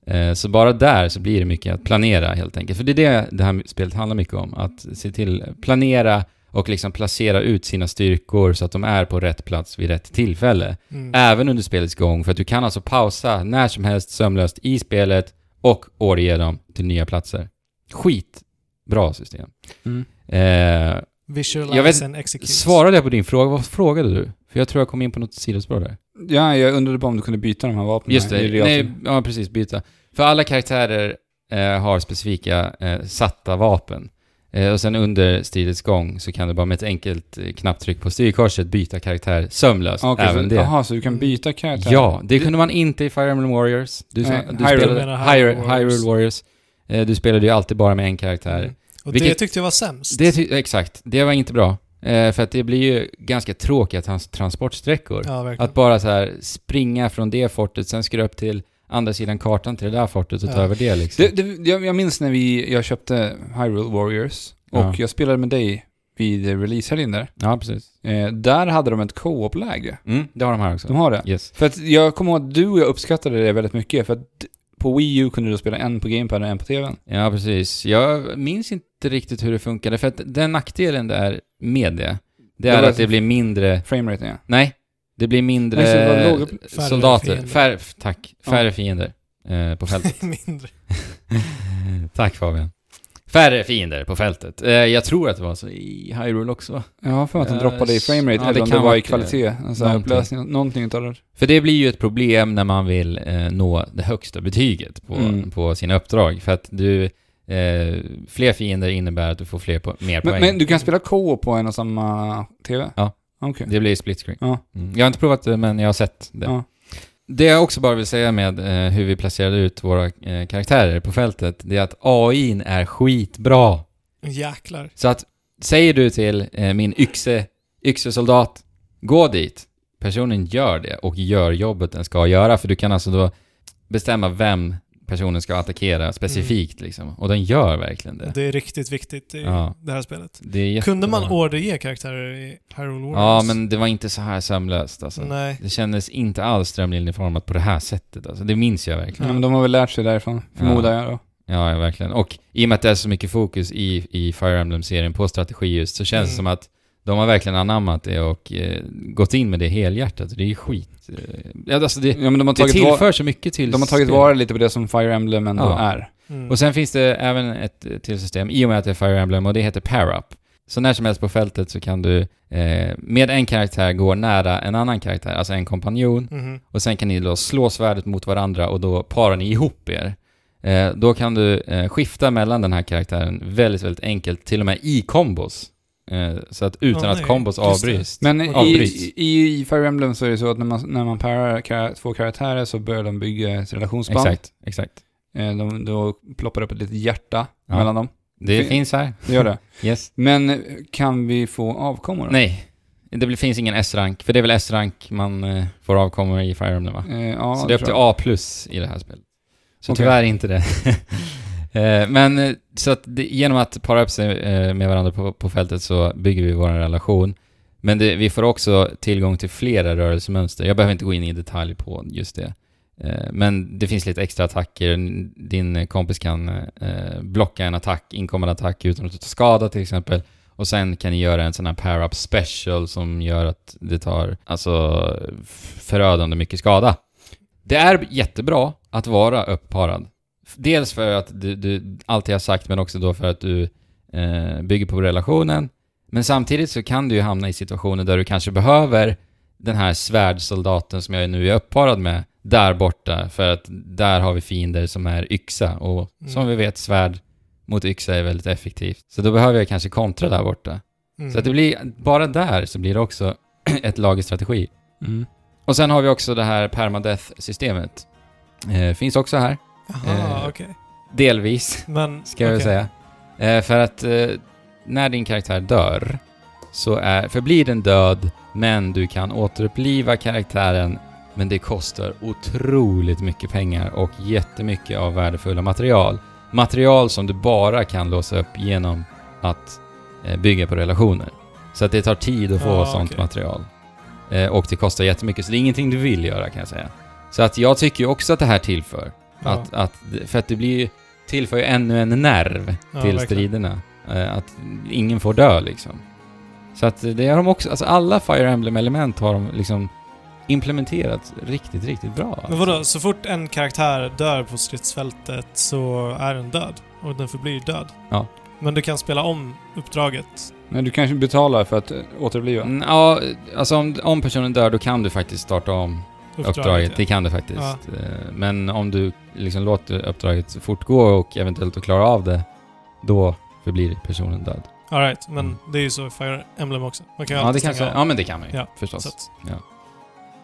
Eh, Så bara där så blir det mycket att planera helt enkelt. För det är det det här spelet handlar mycket om. Att se till, planera och liksom placera ut sina styrkor så att de är på rätt plats vid rätt tillfälle Mm. även under spelets gång för att du kan alltså pausa när som helst sömlöst i spelet och återge dem till nya platser. Skitbra system. Mm. Eh, Visualize jag vet- and execute. svarade jag på din fråga? Vad frågade du? För jag tror jag kom in på något sidospår där. ja, jag undrade bara om du kunde byta de här vapnen Just det, i realtid. nej, ja precis, byta. För alla karaktärer eh, har specifika eh, satta vapen. Eh, och sen under stridets gång så kan du bara med ett enkelt eh, knapptryck på styrkorset byta karaktär sömlöst. Ah, okej, även så, det. Jaha, så du kan byta karaktär? Ja, det kunde man inte i Fire Emblem Warriors. Du, Nej, du Hyrule. spelade Jag menar Hyrule Hyru- Hyrule Warriors. Warriors. Eh, Du spelade ju alltid bara med en karaktär. Mm. Och det Vilket- tyckte jag var sämst. Det, ty- exakt, det var inte bra. Eh, För att det blir ju ganska tråkiga trans- transportsträckor. ja, verkligen. Att bara så här springa från det fortet, sen ska du upp till andra sidan kartan till det där fortet och ta Ja. över det liksom. Det, det, jag, jag minns när vi, jag köpte Hyrule Warriors och Ja. jag spelade med dig vid releasehelgen där. Ja, precis. Eh, där hade de ett co-op-läge. Mm, det har de här också. De har det. Yes. För att jag kommer ihåg att du och jag uppskattade det väldigt mycket, för att på Wii U kunde du spela en på GamePad och en på TVn. Ja, precis. Jag minns inte riktigt hur det funkade, för att den nackdelen där med det, det Det är var att det så- blir mindre Frameraten ja. Nej, det blir mindre Nej, så det var låga- färre soldater. fiender. Färre, f- tack. Ja. Färre fiender eh, på fältet. Mindre. tack Fabian. Färre fiender på fältet. Eh, jag tror att det var så i Hyrule också. va? Jag har för mig att den Ja, droppade i s- framerate, Eh, ja, det eller om kan det var vara i kvalitet. Alltså någonting. upplösning, någonting utav det. För det blir ju ett problem när man vill eh, nå det högsta betyget på, Mm. på sina uppdrag. För att du, eh, fler fiender innebär att du får fler po- mer Men, poäng. men du kan spela co-op på en och samma TV? Ja. Okej. Det blir split screen. Ja. Mm. Jag har inte provat det, men jag har sett det. Ja. Det jag också bara vill säga med eh, hur vi placerade ut våra eh, karaktärer på fältet, det är att AIn är skitbra. Jäklar. Så att, säger du till eh, min yxe, yxesoldat, gå dit. personen gör det och gör jobbet den ska göra. För du kan alltså då bestämma vem personen ska attackera specifikt Mm. liksom. Och den gör verkligen det. Det är riktigt viktigt i Ja. det här spelet. Det är Kunde man jättebra. orderge karaktärer i Hyrule Ja, Warriors? men det var inte så här sömlöst alltså. Nej. Det kändes inte alls strömlinjeformat på det här sättet alltså. Det minns jag verkligen. Ja, men de har väl lärt sig därifrån, förmodar jag då. Ja, ja, verkligen. Och i och med att det är så mycket fokus i, i Fire Emblem-serien på strategi just, så känns det Mm. som att de har verkligen anammat det och eh, gått in med det helhjärtat. Det är ju skit. Eh, ja, alltså det, Ja, men de har det tagit, va- tillför så mycket till de har tagit spelet. vara lite på det som Fire Emblem ändå Ja. är. Mm. Och sen finns det även ett eh, till system i och med att det är Fire Emblem och det heter Pair Up. Så när som helst på fältet så kan du eh, med en karaktär gå nära en annan karaktär, alltså en kompanjon. Mhm. Och sen kan ni då slå svärdet mot varandra och då parar ni ihop er. Eh, då kan du eh, skifta mellan den här karaktären väldigt, väldigt enkelt, till och med i kombos. Eh, så att utan Ja, att nej, kombos just det. avbryts. Men i, Avbryts. i, i Fire Emblem så är det så att när man, när man parar kar- två karaktärer så börjar de bygga ett relationsband. Exakt, exakt. Eh, De, då ploppar det upp ett litet hjärta Ja. mellan dem. Det Fin- finns här. Det gör det. Yes. Men eh, kan vi få avkommor? då? Nej, det blir- finns ingen S-rank, för det är väl S-rank man eh, får avkomma i Fire Emblem va? Eh, ja, så det är upp till tror jag. A plus i det här spelet. Så Okej. tyvärr inte det. Eh, Men eh, så att det, genom att para upp sig eh, med varandra på, på fältet så bygger vi vår relation. Men det, vi får också tillgång till flera rörelsemönster. Jag behöver inte gå in i detalj på just det. Eh, Men det finns lite extra attacker. N- Din eh, kompis kan eh, blocka en attack, inkommande attack utan att ta skada till exempel. Och sen kan ni göra en sån här pair-up special som gör att det tar alltså f- förödande mycket skada. Det är jättebra att vara uppparad. F- Dels för att du, du alltid har sagt, men också då för att du eh, bygger på relationen. Men samtidigt så kan du ju hamna i situationer där du kanske behöver den här svärdsoldaten som jag nu är uppparad med där borta, för att där har vi fiender som är yxa och som Mm. vi vet svärd mot yxa är väldigt effektivt. Så då behöver jag kanske kontra där borta. Mm. Så att det blir, bara där så blir det också ett lag i strategi. Mm. Och sen har vi också det här permadeath-systemet. Eh, finns också här, Aha, eh, Mm. okej. delvis. Men... ska jag okej. säga. Eh, för att eh, när din karaktär dör så är, förblir den död, men du kan återuppliva karaktären, men det kostar otroligt mycket pengar och jättemycket av värdefulla material. Material som du bara kan låsa upp genom att eh, bygga på relationer. Så att det tar tid att få Ja, sånt Ah, okej. material. Eh, och det kostar jättemycket, så det är ingenting du vill göra kan jag säga. Så att jag tycker ju också att det här tillför. Ja. Att, att, för att det blir ju, tillför ju ännu en nerv Ja, till verkligen. striderna. Eh, Att ingen får dö liksom. Så att det har de också, alltså alla Fire Emblem-element har de liksom implementerat riktigt, riktigt bra. alltså. Men vadå, så fort en karaktär dör på stridsfältet så är den död. Och den förblir död. Ja. Men du kan spela om uppdraget. Nej, du kanske betalar för att eh, återuppliva. Mm, Ja, alltså om, om personen dör då kan du faktiskt starta om uppdraget. Det kan du faktiskt. Ja. Eh, Men om du liksom låter uppdraget fortgå och eventuellt att klara av det, då förblir personen död. All right, men Mm. det är ju så i Fire Emblem också. Man kan ju Ja, det alltid kan, stänga av. ja, men det kan man ju Ja, förstås. Så att,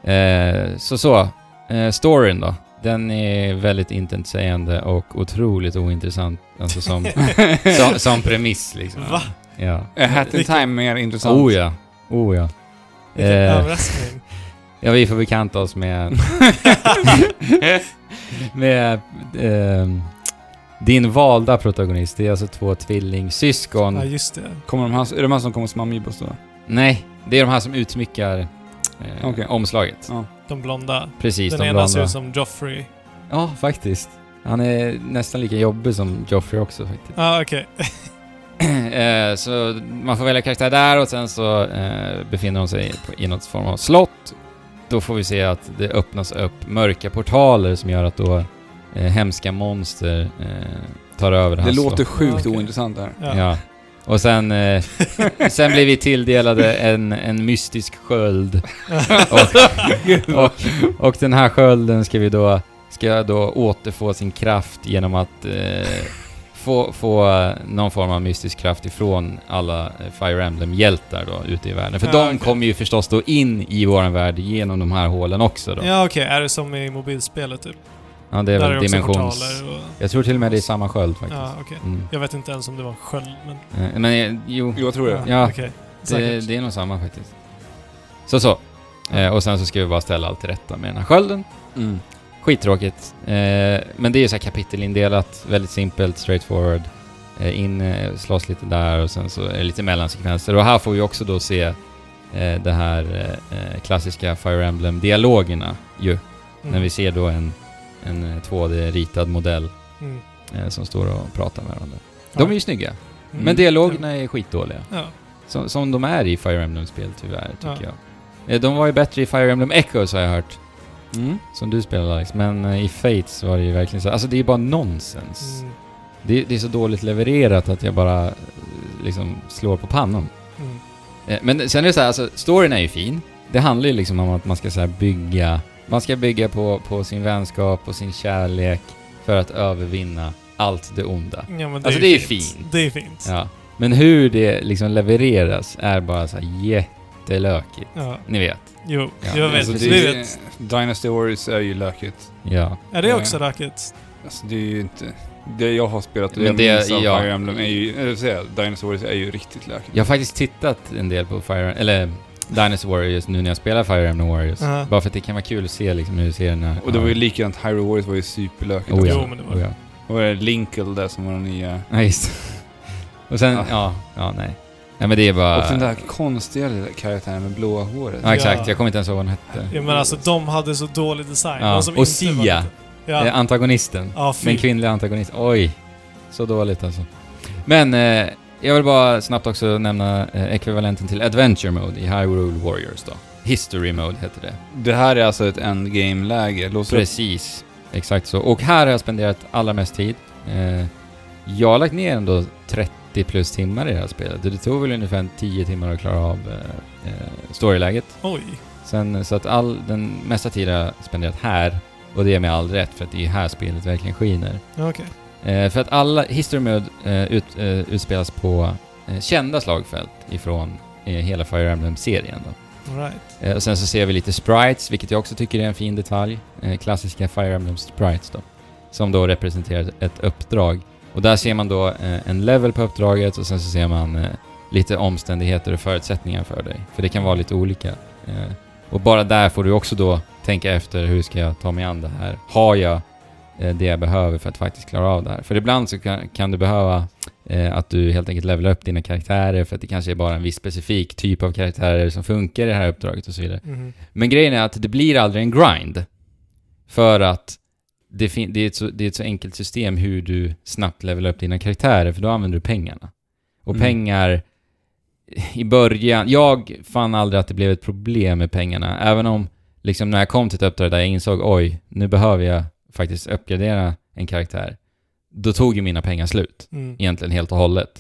Eh, så så. Eh, storyn då. Den är väldigt intetsägande och otroligt ointressant. Alltså som, som, som premiss liksom. Va? Ja. Är Hat in Vilken- Time mer intressant? Oh ja. Oh ja. vilken Eh. överraskning. Ja, vi får bekanta oss med... med ehm, din valda protagonist. Det är alltså två tvillingsyskon. Ja, just det. Kommer de här, är det de här som kommer som Amiibos då? Nej, det är de här som utsmyckar eh, Okej. omslaget. Ja. De blonda. Precis, den de ena blonda. ser ut som Joffrey. Ja, faktiskt. Han är nästan lika jobbig som Joffrey också faktiskt. Ja, ah, okej. Eh, så man får välja karaktär där och sen så eh, befinner de sig på, i något form av slott. Då får vi se att det öppnas upp mörka portaler som gör att då eh, hemska monster eh, tar över det här Det låter slottet. sjukt Ja, okej. ointressant det här. Ja. Ja. Och sen, eh, sen blir vi tilldelade en, en mystisk sköld. Och, och, och den här skölden ska vi då, ska då återfå sin kraft genom att eh, få, få eh, någon form av mystisk kraft ifrån alla eh, Fire Emblem-hjältar då ute i världen. För Ja, de okej. kommer ju förstås då in i våran värld genom de här hålen också då. Ja, Ja, okej. Är det som i mobilspelet typ? det är Där väl är det också dimensions... portaler och... Jag tror till och med det är samma sköld faktiskt. Ja, okej. Mm. Jag vet inte ens om det var en sköld, men... Eh, Men eh, jo, Jo, jag tror det. Ja, okej. det, Säkert. det är nog samma faktiskt. Så så. Eh, och sen så ska vi bara ställa allt till rätta med den här skölden. Mm. Skittråkigt. Eh, men det är ju så här kapitelindelat, väldigt simpelt, straightforward. Eh, in, eh, slåss lite där och sen så är det lite mellansekvenser. Och här får vi också då se eh, det här eh, eh, klassiska Fire Emblem-dialogerna ju. Mm. När vi ser då en, en eh, 2D-ritad modell Mm. eh, som står och pratar med varandra. Ja. De är ju snygga, Mm. men dialogerna är skitdåliga. Ja. Som, som de är i Fire Emblem-spel tyvärr, tycker Ja. jag. Eh, De var ju bättre i Fire Emblem Echoes har jag hört. Mm. Som du spelar Alex, men eh, i Fates var det ju verkligen så. Alltså det är ju bara nonsens. Mm. Det, det är så dåligt levererat att jag bara eh, liksom slår på pannan. Mm. Eh, Men sen är det så här, alltså storyn är ju fin. Det handlar ju liksom om att man ska så här bygga, man ska bygga på, på sin vänskap och sin kärlek för att övervinna allt det onda. Ja, men Alltså, det är ju det är fint. Det är fint. Ja. Ja. Men hur det liksom levereras är bara så här jättelökigt. Ni vet. Jo, Ja, jag vet. Alltså, precis. Vi det är, vet. Dynasty Warriors är ju lökigt. Ja. Är det också racket? Alltså, det är ju inte... Det jag har spelat och Men jag det- minns av ja. Fire Emblem är ju... Eller säga, Dynasty Warriors är ju riktigt lökigt. Jag har faktiskt tittat en del på Fire, eller Dynasty Warriors nu när jag spelar Fire Emblem Warriors. Ja. Bara för att det kan vara kul att se liksom hur serien är. Och det var ju likadant, Hyrule Warriors var ju superlökigt oh, ja. också. Jo, men det var- oh, ja. Och det är Linkle där som var den nya... Ja, just Och sen, ja. Ja. ja, nej. Nej men det är bara... Och den där konstiga lilla karaktären med blåa håret. Eh. Ja, exakt. Ja. Jag kommer inte ens ihåg vad den hette. Ja, men alltså de hade så dålig design. Ja. De som Och inte var- Sia, eh, Ja. antagonisten. Ja, fy. Den kvinnliga antagonisten. Oj. Så dåligt alltså. Men eh, jag vill bara snabbt också nämna eh, ekvivalenten till Adventure Mode i Hyrule Warriors då. History Mode heter det. Det här är alltså ett endgame-läge. Låser upp Precis. Exakt så. Och här har jag spenderat allra mest tid. Eh, jag har lagt ner ändå 30 plus timmar i det här spelet. Det tog väl ungefär 10 timmar att klara av eh, eh, storyläget. Oj. Sen, så att all den mesta tiden har jag spenderat här. Och det är med all rätt, för att det är här spelet verkligen skiner. Ja, Okej. Eh, för att alla History Mode eh, ut, eh, utspelas på eh, kända slagfält ifrån eh, hela Fire Emblem-serien. Då. Alright. Eh, och sen så ser vi lite sprites, vilket jag också tycker är en fin detalj. Eh, klassiska Fire Emblem sprites då. Som då representerar ett uppdrag. Och där ser man då eh, en level på uppdraget och sen så ser man eh, lite omständigheter och förutsättningar för dig. För det kan vara lite olika. Eh, och bara där får du också då tänka efter, hur ska jag ta mig an det här? Har jag eh, det jag behöver för att faktiskt klara av det här? För ibland så kan, kan du behöva eh, att du helt enkelt levelar upp dina karaktärer för att det kanske är bara en viss specifik typ av karaktärer som funkar i det här uppdraget och så vidare. Mhm. Men grejen är att det blir aldrig en grind. För att det, fin- det, är, ett så, det är ett så enkelt system hur du snabbt levelar upp dina karaktärer, för då använder du pengarna. Och Mm. pengar i början, jag fann aldrig att det blev ett problem med pengarna. Även om, liksom när jag kom till ett uppdrag där jag insåg oj, nu behöver jag faktiskt uppgradera en karaktär. Då tog ju mina pengar slut Mm. egentligen helt och hållet.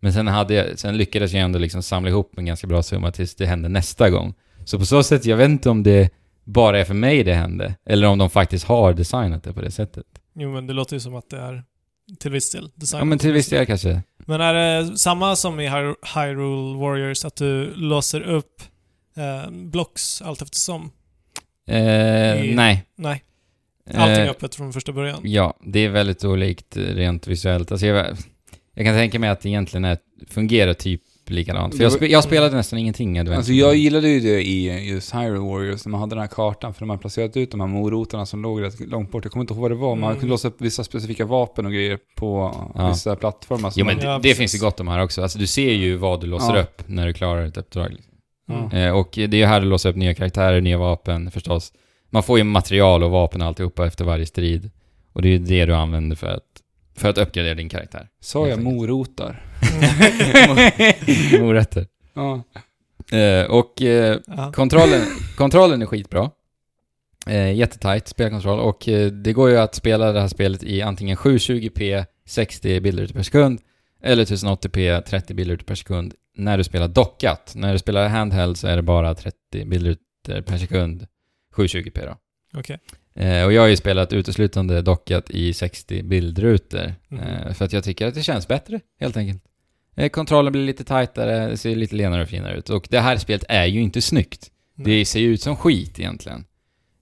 Men sen, hade jag, sen lyckades jag ändå liksom samla ihop en ganska bra summa tills det hände nästa gång. Så på så sätt, jag vet inte om det bara är för mig det hände, eller om de faktiskt har designat det på det sättet. Jo, men det låter ju som att det är till viss del design. Ja, men till viss del kanske. Eh, Men är det samma som i Hy- Hyrule Warriors, att du låser upp eh, blocks allt eftersom? Eh, nej. Nej, allting Eh, öppet från första början. Ja, det är väldigt olikt eh, rent visuellt. Alltså jag, jag kan tänka mig att det egentligen är, fungerar typ likadant. För jag, spe, jag spelade nästan ingenting Adventure. Alltså jag gillade ju det i just Hyrule Warriors, när man hade den här kartan, för de hade placerat ut de här morotarna som låg rätt långt bort. Jag kommer inte ihåg vad det var, men man Mm. kunde låsa upp vissa specifika vapen och grejer på Ja. vissa plattformar. som Jo men man, det, Ja, det precis. finns ju gott om här också. Alltså du ser ju vad du låser Ja. upp när du klarar ett uppdrag. Mm. ja. Eh, och det är ju här du låser upp nya karaktärer, nya vapen förstås. Man får ju material och vapen och alltihopa efter varje strid. Och det är ju det du använder för att, för att uppgradera din karaktär. Sa jag Helt enkelt. morotar? Morötter. Ja. Eh, och eh, Ja. kontrollen, kontrollen är skitbra. Eh, jättetajt spelkontroll och eh, det går ju att spela det här spelet i antingen 720p 60 bilder per sekund eller 1080p 30 bilder per sekund när du spelar dockat. När du spelar handheld så är det bara 30 bilder per sekund 720p då. Okej. Eh, och jag har ju spelat uteslutande dockat i 60 bildrutor. Eh, Mhm. för att jag tycker att det känns bättre, helt enkelt. Eh, kontrollen blir lite tajtare, det ser lite lenare och finare ut. Och det här spelet är ju inte snyggt. Det ser ju ut som skit egentligen.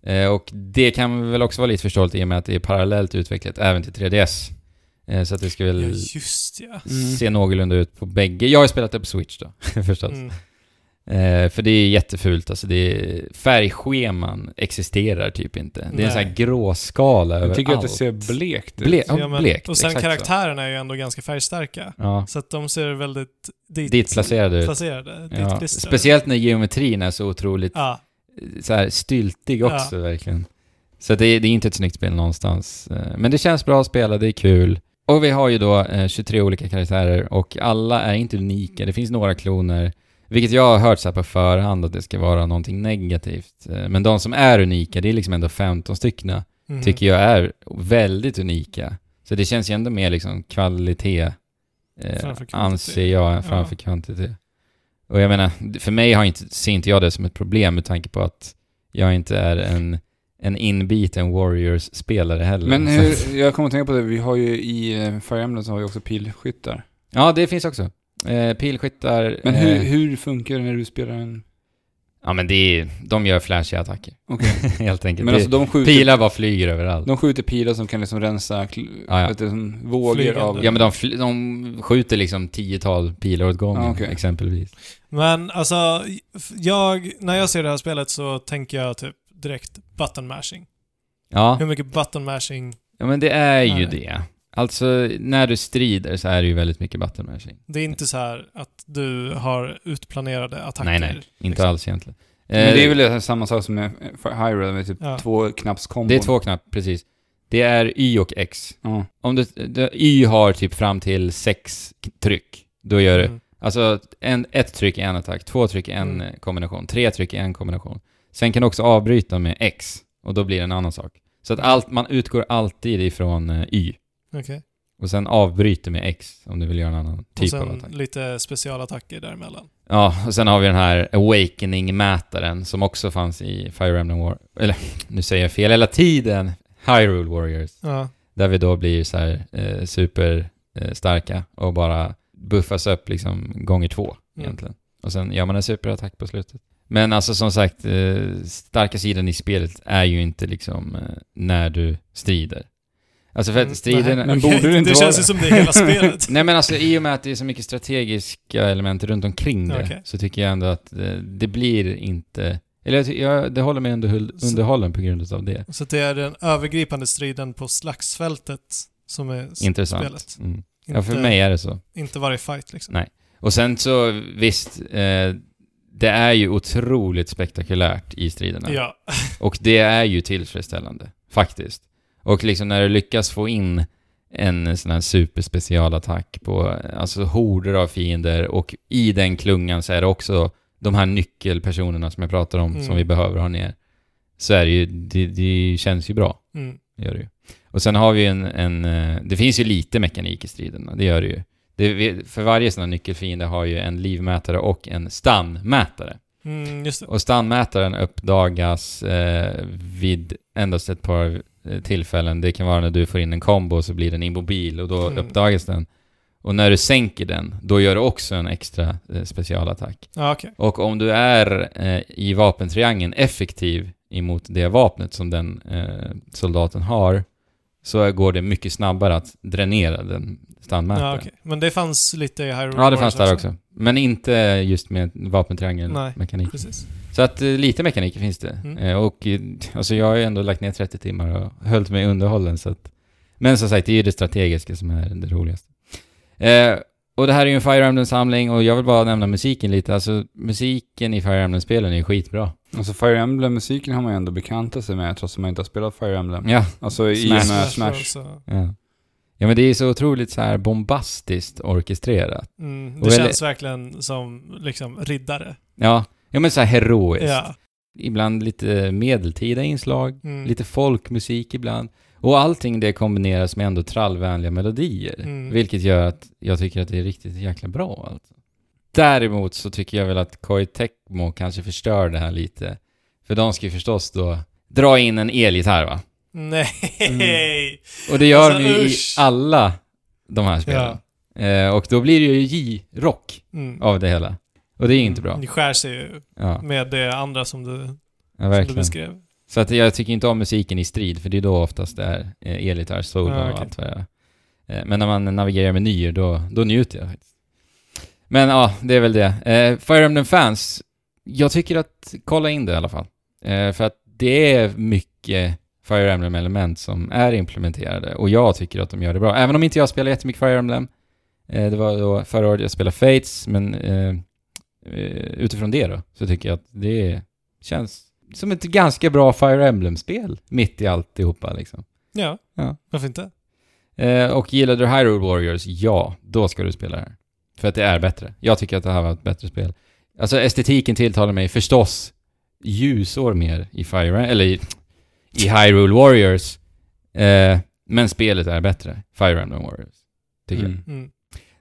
Eh, och det kan väl också vara lite förståeligt i och med att det är parallellt utvecklat även till 3DS. Eh, så att det ska Ja, väl just ja. Mm. se någorlunda ut på bägge. Jag har ju spelat det på Switch då, förstås. Mm. Eh, för det är jättefult, alltså det är, färgscheman existerar typ inte. Det är en Nej. sån här gråskala överallt. Jag tycker att det ser blekt ut. Ble- ja, Ja, men- blekt. Och sen exakt så. karaktärerna är ju ändå ganska färgstarka. Ja, Så att de ser väldigt dit, dit placerade ut. placerade. Dit Ja. klistrade. Speciellt när geometrin är så otroligt Ja, eh, så här styltig också verkligen. Så att det, är- det är inte ett snyggt spel någonstans. Eh, Men det känns bra att spela, det är kul. Och vi har ju då eh, 23 olika karaktärer och alla är inte unika. Det finns några kloner, vilket jag har hört så här på förhand att det ska vara någonting negativt. Eh, Men de som är unika, det är liksom ändå 15 styckna mhm. tycker jag är väldigt unika. Så det känns ju ändå mer liksom kvalitet, eh, Framför kvantitet. anser jag, framför kvantitet. Och jag menar, för mig har inte, ser inte jag det som ett problem med tanke på att jag inte är en, en inbiten Warriors-spelare heller. Men Så- hur, jag kommer att tänka på det, vi har ju i eh, Fire Emblem så har vi också pilskyttar. Ja, det finns också. Eh, pilskyttar. Men hur, eh, hur funkar det när du spelar en... ja, men det är, de gör flashiga attacker, Okej. helt enkelt. Men alltså de skjuter, Pilar bara flyger överallt. de skjuter pilar som kan liksom rensa kl- Ja, ja. Vet du, som vågor Flygande. av... Ja, men de, fly- de skjuter liksom tiotal pilar åt gången, Ja, okej. exempelvis. Men alltså, jag, när jag ser det här spelet så tänker jag typ direkt button mashing. Ja. Hur mycket button mashing, Ja men det är ju Nej. det. Alltså när du strider så är det ju väldigt mycket button mashing. det är inte så här att du har utplanerade attacker. Nej nej, inte liksom. alls egentligen. Men Eh, det är väl det här samma sak som med eh, för Hyrule, med typ Ja. två knappskombon. det är två knappar, precis. Det är Y och X. Ja. Om du, du, Y har typ fram till sex k- tryck, då gör du Mm. Alltså en, ett tryck är en attack, två tryck är en Mm. eh, kombination, tre tryck är en kombination. Sen kan du också avbryta med X och då blir det en annan sak. Så att allt, man utgår alltid ifrån eh, Y Okej. och sen avbryter med X om du vill göra en annan typ Och av sen attack. lite specialattacker däremellan. Ja, och sen har vi den här Awakening-mätaren som också fanns i Fire Emblem War... Eller, nu säger jag fel hela tiden! Hyrule Warriors. Ja. Där vi då blir så här eh, super, eh, starka och bara buffas upp liksom gånger två Mm. egentligen. Och sen gör man en superattack på slutet. Men alltså som sagt, eh, starka sidan i spelet är ju inte liksom eh, när du strider. Alltså för Mm, att striden... nej. Men borde det inte Det vara känns ju det? som det är hela spelet. Nej men alltså i och med att det är så mycket strategiska element runt omkring det Okej. så tycker jag ändå att eh, det blir inte... Eller jag, ty- jag, det håller mig ändå hul- underhållen på grund av det. Så det är den övergripande striden på slagsfältet som är s- Intressant. spelet. Mm. Inte, Ja, för mig är det så. inte varje fight liksom. Nej. Och sen så visst, eh, det är ju otroligt spektakulärt i striderna. Ja. Och det är ju tillfredsställande, faktiskt. Och liksom när du lyckas få in en sån här superspecialattack på alltså horder av fiender och i den klungan så är det också de här nyckelpersonerna som jag pratar om Mm. som vi behöver ha ner. Så är det ju, det, det känns ju bra, Mm. det gör det ju. Och sen har vi ju en, en, eh, det finns ju lite mekanik i striderna, det gör det ju. Det, vi- för varje sån här nyckelfiende har ju en livmätare och en stannmätare. Mm, just det. Och stannmätaren uppdagas eh, vid endast ett par eh, tillfällen. Det kan vara när du får in en kombo så blir den immobil och då Mm. uppdagas den. Och när du sänker den, då gör du också en extra eh, specialattack. Ja, okej. Och om du är eh, i vapentriangeln effektiv emot det vapnet som den eh, soldaten har så går det mycket snabbare att dränera den stannmätaren. Ja, okej. Men det fanns lite i Hyrule Ja, det Warriors fanns där också. Men inte just med Nej. vapentriangeln-mekanik. Precis. Så att eh, lite mekanik finns det. Mm. Eh, och eh, alltså jag har ju ändå lagt ner 30 timmar och höll mig underhållen. Så att, men som sagt, det är ju det strategiska som är det roligaste. Eh, och det här är ju en Fire Emblem-samling och jag vill bara nämna musiken lite. Alltså musiken i Fire Emblem-spelen är ju skitbra. Alltså Fire Emblem-musiken har man ju ändå bekantat sig med trots att man inte har spelat Fire Emblem. Ja, Alltså i och Smash. med Smash. Smash. så- ja. ja men det är så otroligt så här bombastiskt orkestrerat. Mm, Och det väl- känns verkligen som liksom riddare. Ja, ja men så här heroiskt. Ja. Ibland lite medeltida inslag. Mm. lite folkmusik ibland. Och allting det kombineras med ändå trallvänliga melodier, Mm. vilket gör att jag tycker att det är riktigt jäkla bra. Alltså. Däremot så tycker jag väl att Koei Tecmo kanske förstör det här lite. För de ska ju förstås då dra in en elgitarr va? Nej. Och det gör Alltså, de ju i usch. alla de här spelen. Eh, och då blir det ju J-rock Mm. av det hela. Och det är ju inte bra. Det skär sig ju Ja, med det andra som du, ja som du verkligen. beskrev. Så att jag tycker inte om musiken i strid, för det är då oftast det är eh, elgitarr, solo Ja, okej. och allt vad det är. Eh, Men när man navigerar i menyer, då, då njuter jag faktiskt. Men ja, det är väl det. Eh, Fire Emblem Fans Jag tycker att, kolla in det i alla fall. Eh, för att det är mycket Fire Emblem-element som är implementerade och jag tycker att de gör det bra. Även om inte jag spelar jättemycket Fire Emblem. Eh, det var då förra året jag spelade Fates, men eh, eh, utifrån det då så tycker jag att det känns som ett ganska bra Fire Emblem-spel mitt i alltihopa liksom. Ja, Ja. varför inte? Eh, och gillade du Hyrule Warriors, ja, då ska du spela det här. För att det är bättre. Jag tycker att det här var ett bättre spel. Alltså estetiken tilltalar mig förstås ljusår mer i Fire eller i, i Hyrule Warriors. Eh, men spelet är bättre. Fire Emblem Warriors. Tycker jag. Mm. Mm.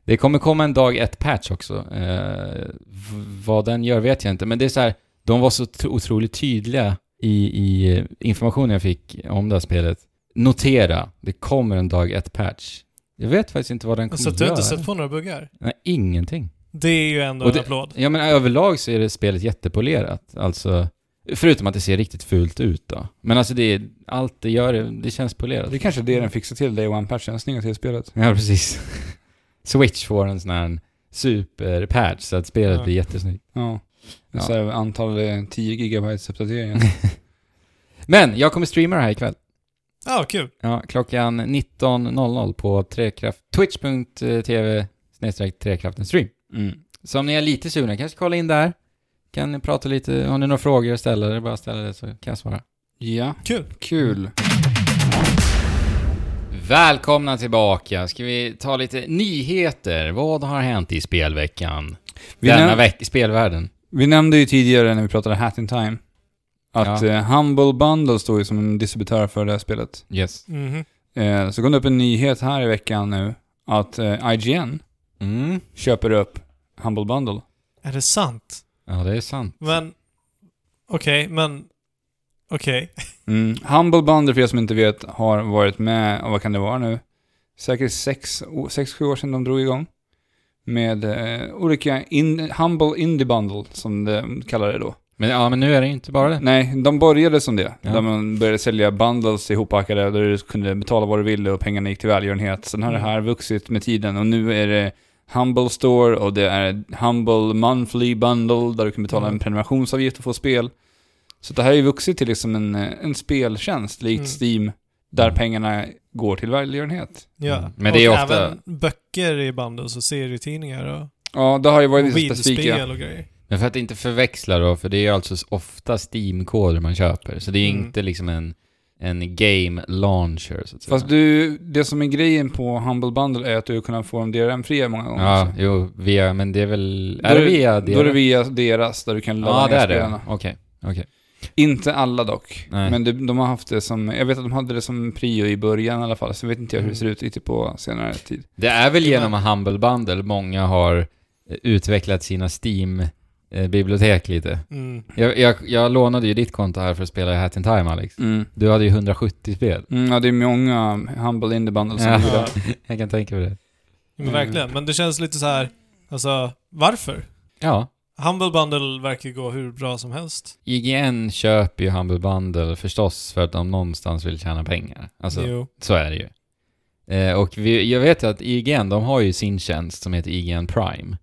Det kommer komma en dag ett patch också. Eh, v- vad den gör vet jag inte, men det är så här, de var så tro- otroligt tydliga i, i eh, informationen jag fick om det här spelet. Notera, det kommer en dag ett patch. Jag vet faktiskt inte vad den kommer Så att du har inte göra. sett på några buggar? Nej, ingenting. Det är ju ändå Och en det- applåd. Ja men överlag så är det spelet jättepolerat. Alltså, förutom att det ser riktigt fult ut då. Men alltså det är, allt det gör, det känns polerat. Det är kanske är det den fixar till, Day One-patchen. Snygga till spelet. Ja, precis. Switch får en sån här superpatch så att spelet Ja. blir jättesnyggt. Ja. Ja. Så här, antal eh, 10 gigabytes uppdateringar. Men jag kommer streama det här ikväll. Ja, ah, kul. Ja, klockan 19.00 på trekraft, twitch.tv snedstreck trekraften stream. Mm. Så om ni är lite sugna kanske kolla in där. Kan ni prata lite, har ni några frågor att ställa, det är bara att ställa det så kan jag svara. Ja, Kul. kul. Mm. Välkomna tillbaka. Ska vi ta lite nyheter? Vad har hänt i spelveckan? Vi, Denna näm- veck, spelvärlden. vi nämnde ju tidigare när vi pratade Hat in Time att Ja. eh, Humble Bundle står ju som en distributör för det här spelet. Yes. Mhm. Eh, så kom det upp en nyhet här i veckan nu att eh, IGN Mm. köper upp Humble Bundle. Är det sant? Ja, det är sant. Men... Okej, men... Okej. Mm. Humble Bundle, för er som inte vet, har varit med, och vad kan det vara nu? Säkert 6-7 år sedan de drog igång. Med eh, olika in, Humble Indie Bundle, som de kallar det då. Men, ja, men nu är det ju inte bara det. Nej, de började som det. Ja. Där man började sälja bundles ihoppackade, där du kunde betala vad du ville och pengarna gick till välgörenhet. Sen har det här vuxit med tiden och nu är det Humble Store och det är Humble Monthly Bundle där du kan betala Mm. en prenumerationsavgift och få spel. Så det här har ju vuxit till liksom en, eh, en speltjänst, likt Steam, där Mm. pengarna går till välgörenhet. Ja. Mm. Men det är och ofta- även böcker i bundles och serietidningar och Ja, det har ju varit lite specifika. mobilspel alltså. och grejer. Men för att inte förväxla då, för det är ju alltså ofta Steam-koder man köper, så det är Mm. inte liksom en, en game launcher så att säga. Fast du, det som är grejen på Humble Bundle är att du kan få dem DRM-fria många gånger. också. Ja, jo, via, men det är väl... Då är det är- via Då är det via deras, där du kan ladda Ja, det ner är det. spelarna. Okej, okej. Inte alla dock. Nej. Men det, de har haft det som, jag vet att de hade det som prio i början i alla fall, så vet inte jag hur Mm. det ser ut riktigt på senare tid. Det är väl genom Humble Bundle många har eh, utvecklat sina Steam-bibliotek lite. Mm. Jag, jag, jag lånade ju ditt konto här för att spela Hat in Time, Alex. Mm. Du hade ju 170 spel. Mm, ja, det är många Humble Indie Bundle som Ja. blir Ja, det. Jag kan tänka mig det. men verkligen. Men det känns lite så här, alltså varför? Ja. Humble Bundle verkar gå hur bra som helst. IGN köper ju Humble Bundle förstås för att de någonstans vill tjäna pengar. Alltså, Jo. så är det ju. Eh, och vi, jag vet ju att IGN, de har ju sin tjänst som heter IGN Prime.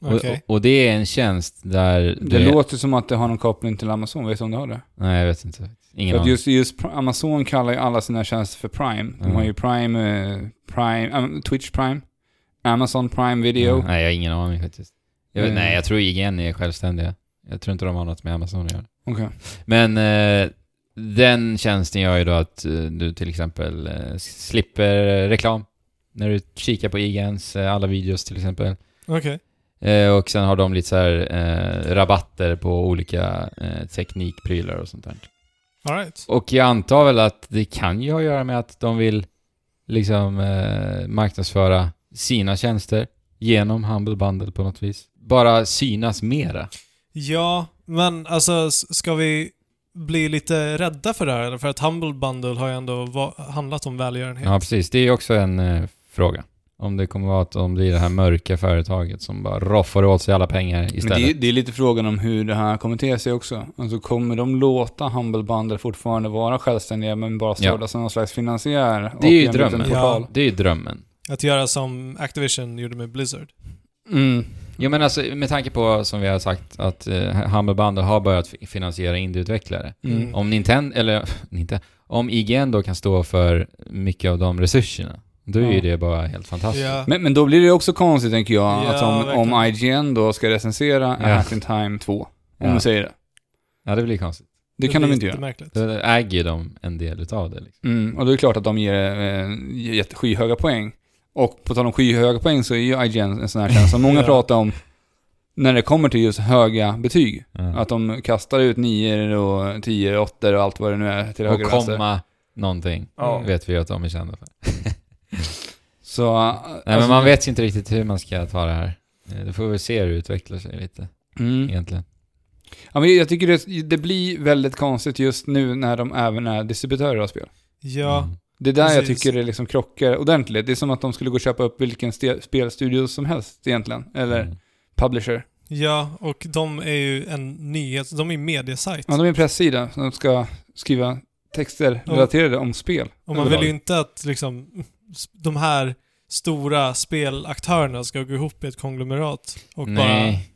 Okej. Och, och det är en tjänst där... Det låter som att det har någon koppling till Amazon, vet du om det har det? Nej, jag vet inte. Ingen För att aning. just, just Pr- Amazon kallar ju alla sina tjänster för Prime. De Mm. har ju Prime, eh, Prime eh, Twitch Prime, Amazon Prime Video. Mm, Nej, jag har ingen aning faktiskt. Jag vet, Mm. Nej, jag tror IGN är självständiga. Jag tror inte de har något med Amazon att göra. Okej. Men eh, den tjänsten gör ju då att eh, du till exempel eh, slipper reklam när du kikar på IGNs eh, alla videos till exempel. Okej. Eh, och sen har de lite så här eh, rabatter på olika eh, teknikprylar och sånt där. Alright. Och jag antar väl att det kan ju ha att göra med att de vill liksom eh, marknadsföra sina tjänster genom Humble Bundle på något vis. Bara synas mera. Ja, men alltså s- ska vi bli lite rädda för det här eller? För att Humble Bundle har ju ändå va- handlat om välgörenhet. Ja, precis. Det är ju också en eh, fråga. Om det kommer vara att de blir det här mörka företaget som bara roffar åt sig alla pengar Men det, är- istället. det är lite frågan om hur det här kommer till sig också. Alltså kommer de låta Humble Bundle fortfarande vara självständiga men bara stå Ja. där som någon slags finansiär? och Det är ju en liten drömmen. portal? Det är ju drömmen. Att göra som Activision gjorde med Blizzard. Mm. Jo men alltså med tanke på som vi har sagt att eh, Humble har börjat fi- finansiera indieutvecklare. Mm. Om Nintendo, eller inte, om IGN då kan stå för mycket av de resurserna, då är ju Ja. det bara helt fantastiskt. Ja. Men, men då blir det också konstigt tänker jag, Ja, att om, om IGN då ska recensera Ja. A Hat in Time 2, om Ja. de säger det. Ja, det blir konstigt. Det kan de blir inte göra. jättemärkligt. Då äger ju de en del utav det liksom. Mm, och då är det klart att de ger eh, jätte- skyhöga poäng. Och på tal om skyhöga poäng så är ju IGN en sån här tjänst som många Ja. pratar om när det kommer till just höga betyg. Ja. Att de kastar ut nior och tior, åttor och allt vad det nu är till och höger och vänster. komma någonting, Ja. vet vi ju att de är kända för. Så... Nej Alltså men man vet ju inte riktigt hur man ska ta det här. Eh, Då får vi väl se hur det utvecklar sig lite, Mm. egentligen. Ja, men jag tycker det, det blir väldigt konstigt just nu när de även är distributörer av spel. Ja. Mm. Det är där jag Precis. tycker det liksom krockar ordentligt. Det är som att de skulle gå och köpa upp vilken ste- spelstudio som helst egentligen. Eller Mm. publisher. ja, och de är ju en nyhets... De är ju mediasajt. Ja, de är en pressida som ska skriva texter Ja. relaterade om spel. Och man vill överlag. ju inte att liksom s- de här stora spelaktörerna ska gå ihop i ett konglomerat och Nej.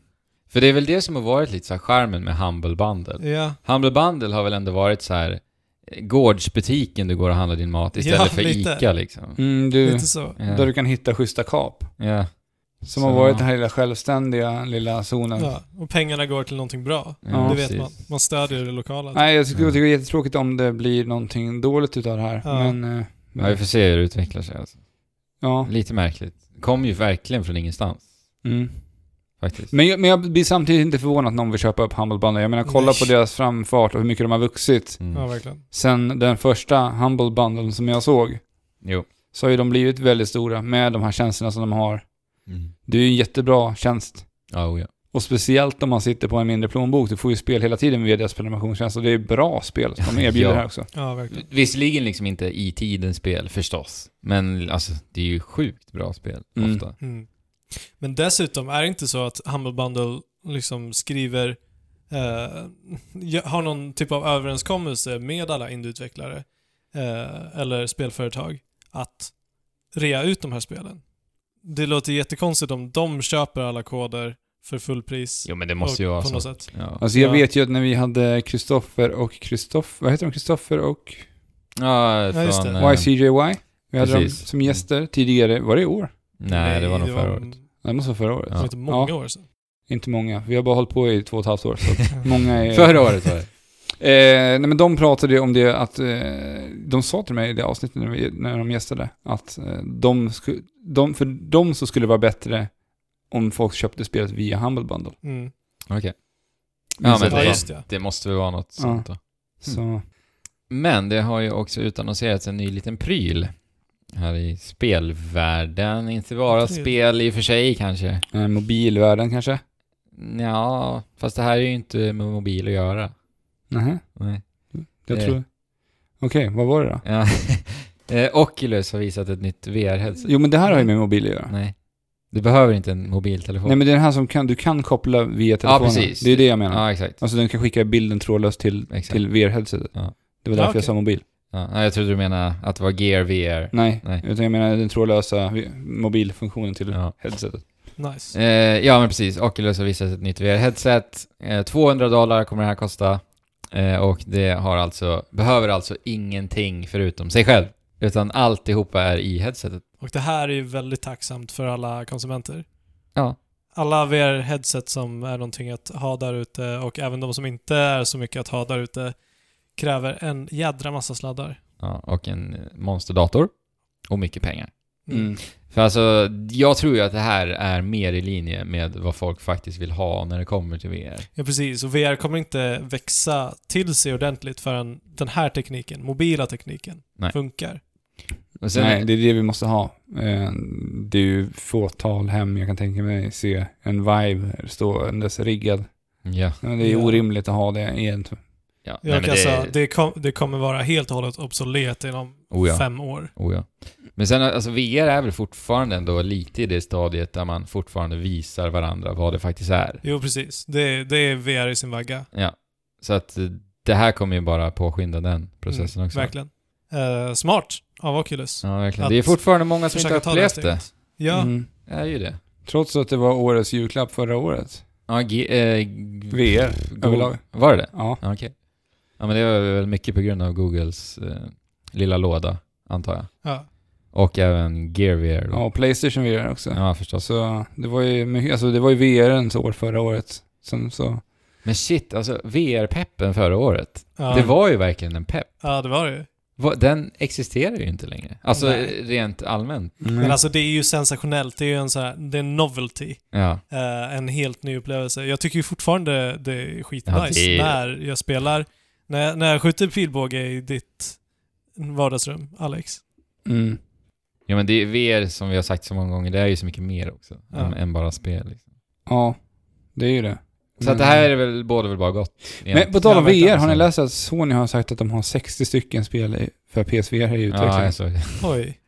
För det är väl det som har varit lite så här charmen med Humble Bundle. bara... Ja, Humble Bundle har väl ändå varit så här eh, gårdsbutiken du går och handlar din mat istället Ja, för lite. ICA liksom. Mm, du, lite så. Ja. där du kan hitta schyssta kap. Ja. Som har Så- varit den här lilla självständiga lilla zonen. Ja. Och pengarna går till någonting bra. Ja, det vet precis. man. Man stödjer det lokala. Nej, jag skulle Ja. tycka det är jättetråkigt om det blir någonting dåligt utav det här. Ja. Men... eh, Ja, vi får se hur det utvecklar sig alltså. ja. Lite märkligt. Kom ju verkligen från ingenstans, Mm. faktiskt. Men, jag, men jag blir samtidigt inte förvånad att någon vill köpa upp Humble Bundle. Jag menar, kolla Nej. på deras framfart och hur mycket de har vuxit. Mm. Ja, verkligen. Sen den första Humble Bundle som jag såg, Jo. så har ju de blivit väldigt stora med de här tjänsterna som de har. Det är ju en jättebra tjänst. Ja, oh, ja. Och speciellt om man sitter på en mindre plånbok. Du får ju spel hela tiden via deras prenumerationstjänst. Och det är bra spel som de erbjuder Ja. här också. Ja, verkligen. Visserligen liksom inte i tidens spel förstås, men alltså det är ju sjukt bra spel Mm. ofta. Mm. Men dessutom, är det inte så att Humble Bundle liksom skriver, eh, ja, har någon typ av överenskommelse med alla indieutvecklare eh, eller spelföretag att rea ut de här spelen? Det låter jättekonstigt om de köper alla koder för fullpris. Jo men det måste ju och- vara på så. något sätt. Ja. Alltså jag Ja. vet ju att när vi hade Kristoffer och Kristoffer, vad heter de? Kristoffer och ja, Ja, just från, det. eh, YCJY. Vi hade dem precis. som gäster tidigare. Var det i år? Nej, det var nog förra året. Nej, det måste vara förra året. Ja. Det var inte många år sedan. Inte många. Vi har bara hållit på i två och ett halvt år. Så att många är... Förra året var det. Eh, nej men de pratade ju om det att, eh, de sa till mig i det avsnittet när, vi, när de gästade, att eh, de sku, de, för dem så skulle det vara bättre om folk köpte spelet via Humble Bundle. Mm. Okej. Men Ja, så men att- Ja, det- just det. Det måste väl vara något Ja. sånt då. Så, Men det har ju också utannonserats en ny liten pryl här i spelvärlden. Inte bara Pryl. spel i och för sig kanske. eh, mobilvärlden kanske? Ja, fast det här är ju inte med mobil att göra. Nähä, Nej. jag Mm. Eh. tror... Okej, vad var det då? Ja. Eh, Oculus har visat ett nytt VR-headset. Jo men det här har ju med mobil att göra. Nej, Nej. Du behöver inte en mobiltelefon. men det är den här som kan, du kan koppla via telefonen. precis. Det är det jag menar. Ja, exakt. Alltså den kan skicka bilden trådlöst till, Exakt. till VR-headsetet. Ja. Det var därför Ja, okej. jag sa mobil. Ja, nej, jag trodde du menade att det var Gear VR. Nej, Nej. utan jag menar den trådlösa vi- mobilfunktionen till Ja. headsetet. Nice. Eh, ja, men precis. Oculus har visat ett nytt VR-headset. Eh, 200 dollar kommer det här kosta. Eh, och det har alltså, behöver alltså ingenting förutom sig själv. Utan alltihopa är i headsetet. Och det här är ju väldigt tacksamt för alla konsumenter. Ja. Alla VR-headset som är någonting att ha där ute och även de som inte är så mycket att ha där ute kräver en jädra massa sladdar. ja och en eh, monsterdator. Och mycket pengar. Mm. Mm. För alltså, jag tror ju att det här är mer i linje med vad folk faktiskt vill ha när det kommer till VR. Ja, precis. Och VR kommer inte växa till sig ordentligt förrän den här tekniken, mobila tekniken, Nej. funkar. Och Nej, det är det vi måste ha. Eh, Det är ju fåtal hem jag kan tänka mig se en Vive ståendes riggad. Ja. Men det är Ja. orimligt att ha det egentligen. ja. Jag Nej, men kan säga, det- alltså, det, kom, det kommer vara helt och hållet obsolet inom Oh, ja. fem år. Oh ja. Men sen alltså VR är väl fortfarande ändå lite i det stadiet där man fortfarande visar varandra vad det faktiskt är. Jo, precis. Det, det är VR i sin vagga. Ja. Så att eh, det här kommer ju bara påskynda den processen Mm, också. Verkligen. Eh, smart av Oculus. Ja, verkligen. Att Det är fortfarande många som inte Försöka har ta det här upplevt det. steget. Ja, Mm. Det är ju det. Trots att det var årets julklapp förra året. Ja, G... Eh, VR överlag. Var det det? Ja. Ja, okej. Ja, men det var väl mycket på grund av Googles eh, lilla låda, antar jag. Ja. Och även Gear VR då. Ja, och Playstation VR också. Ja, förstås. Så det var ju, mycket- alltså det var ju VR'ens år förra året. Sen så, Men shit, alltså VR-peppen förra året. Ja. Det var ju verkligen en pepp. ja, det var det ju. Va- Den existerar ju inte längre. Alltså Nej. rent allmänt. Men alltså det är ju sensationellt. Det är ju en så här, det är en novelty. Ja. Eh, en helt ny upplevelse. Jag tycker ju fortfarande det är Ja, skitnice det är- när jag spelar. När jag, när jag skjuter pilbåge i ditt vardagsrum, Alex. mm. ja, men det är VR som vi har sagt så många gånger, det är ju så mycket mer också. Ja. Än, än bara spel. Liksom. ja, det är ju det. Så att det här är väl, både väl bara gott. Mm. Men på tal om Ja, verkligen. VR, har ni läst att Sony har sagt att de har 60 stycken spel i- för PSVR i utveckling? Ja, jag såg det. Oj.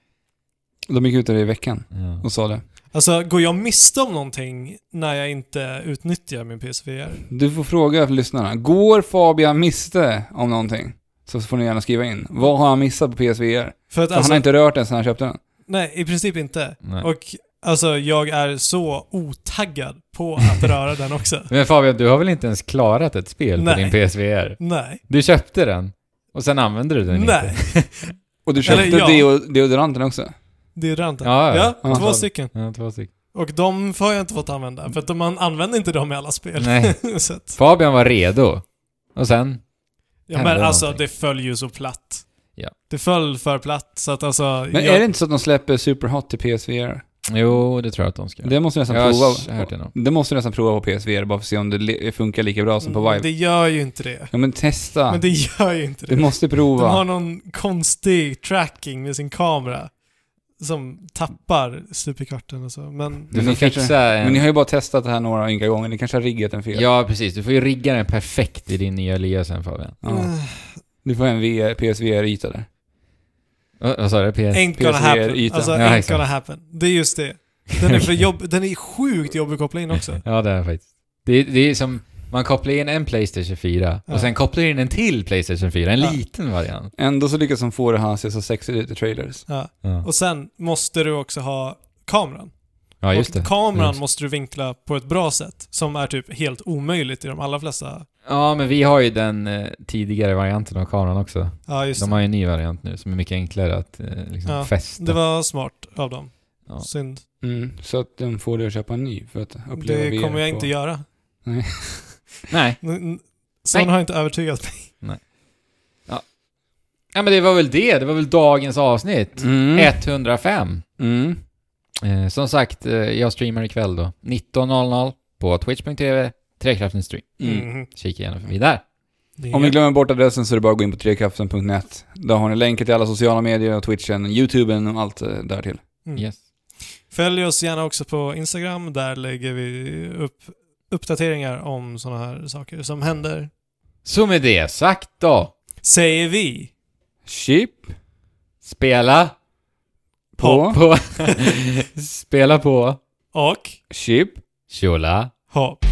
De gick ut med det i veckan Ja. och sa det. Alltså, går jag miste om någonting när jag inte utnyttjar min PSVR? Du får fråga för lyssnarna. Går Fabian miste om någonting? Så får ni gärna skriva in. Vad har han missat på PSVR? För att För han alltså, har inte rört den sedan han köpte den. nej, i princip inte. Nej. Och alltså, jag är så otaggad på att röra den också. Men Fabian, du har väl inte ens klarat ett spel Nej. på din PSVR? Nej. Du köpte den och sen använde du den Nej. inte. Och du köpte Eller, ja. deo- deodoranten också. Det är ranten. Ja, ja. Ja, två ja. stycken. Ja, två stycken. Och de har jag inte fått använda, för att man använder inte dem i alla spel. Nej. så att, Fabian var redo. Och sen? ja, Hände men alltså, någonting. det föll ju så platt. Ja. Det föll för platt, så att alltså... Men jag, är det inte så att de släpper Superhot till PSVR? Jo, det tror jag att de ska göra. Det måste du nästan Jag har prova. hört det någon. Det måste du nästan prova på PSVR bara för att se om det le- funkar lika bra som på Vive. Mm, Det gör ju inte det. Ja men testa. Men det gör ju inte det. Du måste De har prova. någon konstig tracking med sin kamera som tappar stup i kvarten och så. Men Du Men får ni kanske- fixa Men en... ni har ju bara testat det här några ynka gånger. Ni kanske har riggat en fel. Ja, precis. Du får ju rigga den perfekt i din nya lya sen Fabian. Ja. eh, Du får en VR, PSVR-yta där. Vad vad sa du? PS? ain't gonna PSVR happen. ytan. Alltså, Ja, ain't exakt. gonna happen. Det är just det. Den är, för jobb, den är sjukt jobbig att koppla in också. Ja, det är det faktiskt. Det, är- det är som... Man kopplar in en Playstation 4 Ja. och sen kopplar in en till Playstation 4. En Ja. liten variant. Ändå så lyckas de få det här att se så sexigt ut i trailers. Ja. Ja, Och sen måste du också ha kameran. ja just det. Och kameran Just. måste du vinkla på ett bra sätt, som är typ helt omöjligt i de allra flesta. Ja, men vi har ju den eh, tidigare varianten av kameran också. Ja, just De det. har ju en ny variant nu som är mycket enklare att eh, liksom Ja, fästa. Det var smart av dem. Ja. Synd. Mm, så att de får dig att köpa en ny för att uppleva Det VR kommer jag på- inte göra. Nej. N- n- Sån Nej. har inte övertygat mig. Ja, men det var väl det. Det var väl dagens avsnitt. Mm. 105. Mm. Eh, som sagt, eh, jag streamar ikväll då. 19.00 på twitch.tv. Trekraften stream. Mm. Mhm. Kika gärna förbi där. Det- Om ni glömmer bort adressen så är det bara att gå in på trekraften.net. Där har ni länken till alla sociala medier, och Twitchen, Youtuben och allt eh, därtill. Mm. Yes. Följ oss gärna också på Instagram. Där lägger vi upp uppdateringar om sådana här saker som händer. Så med det sagt då. Säger vi. Chip Spela på, på... spela på... Och chip Tjola. hopp.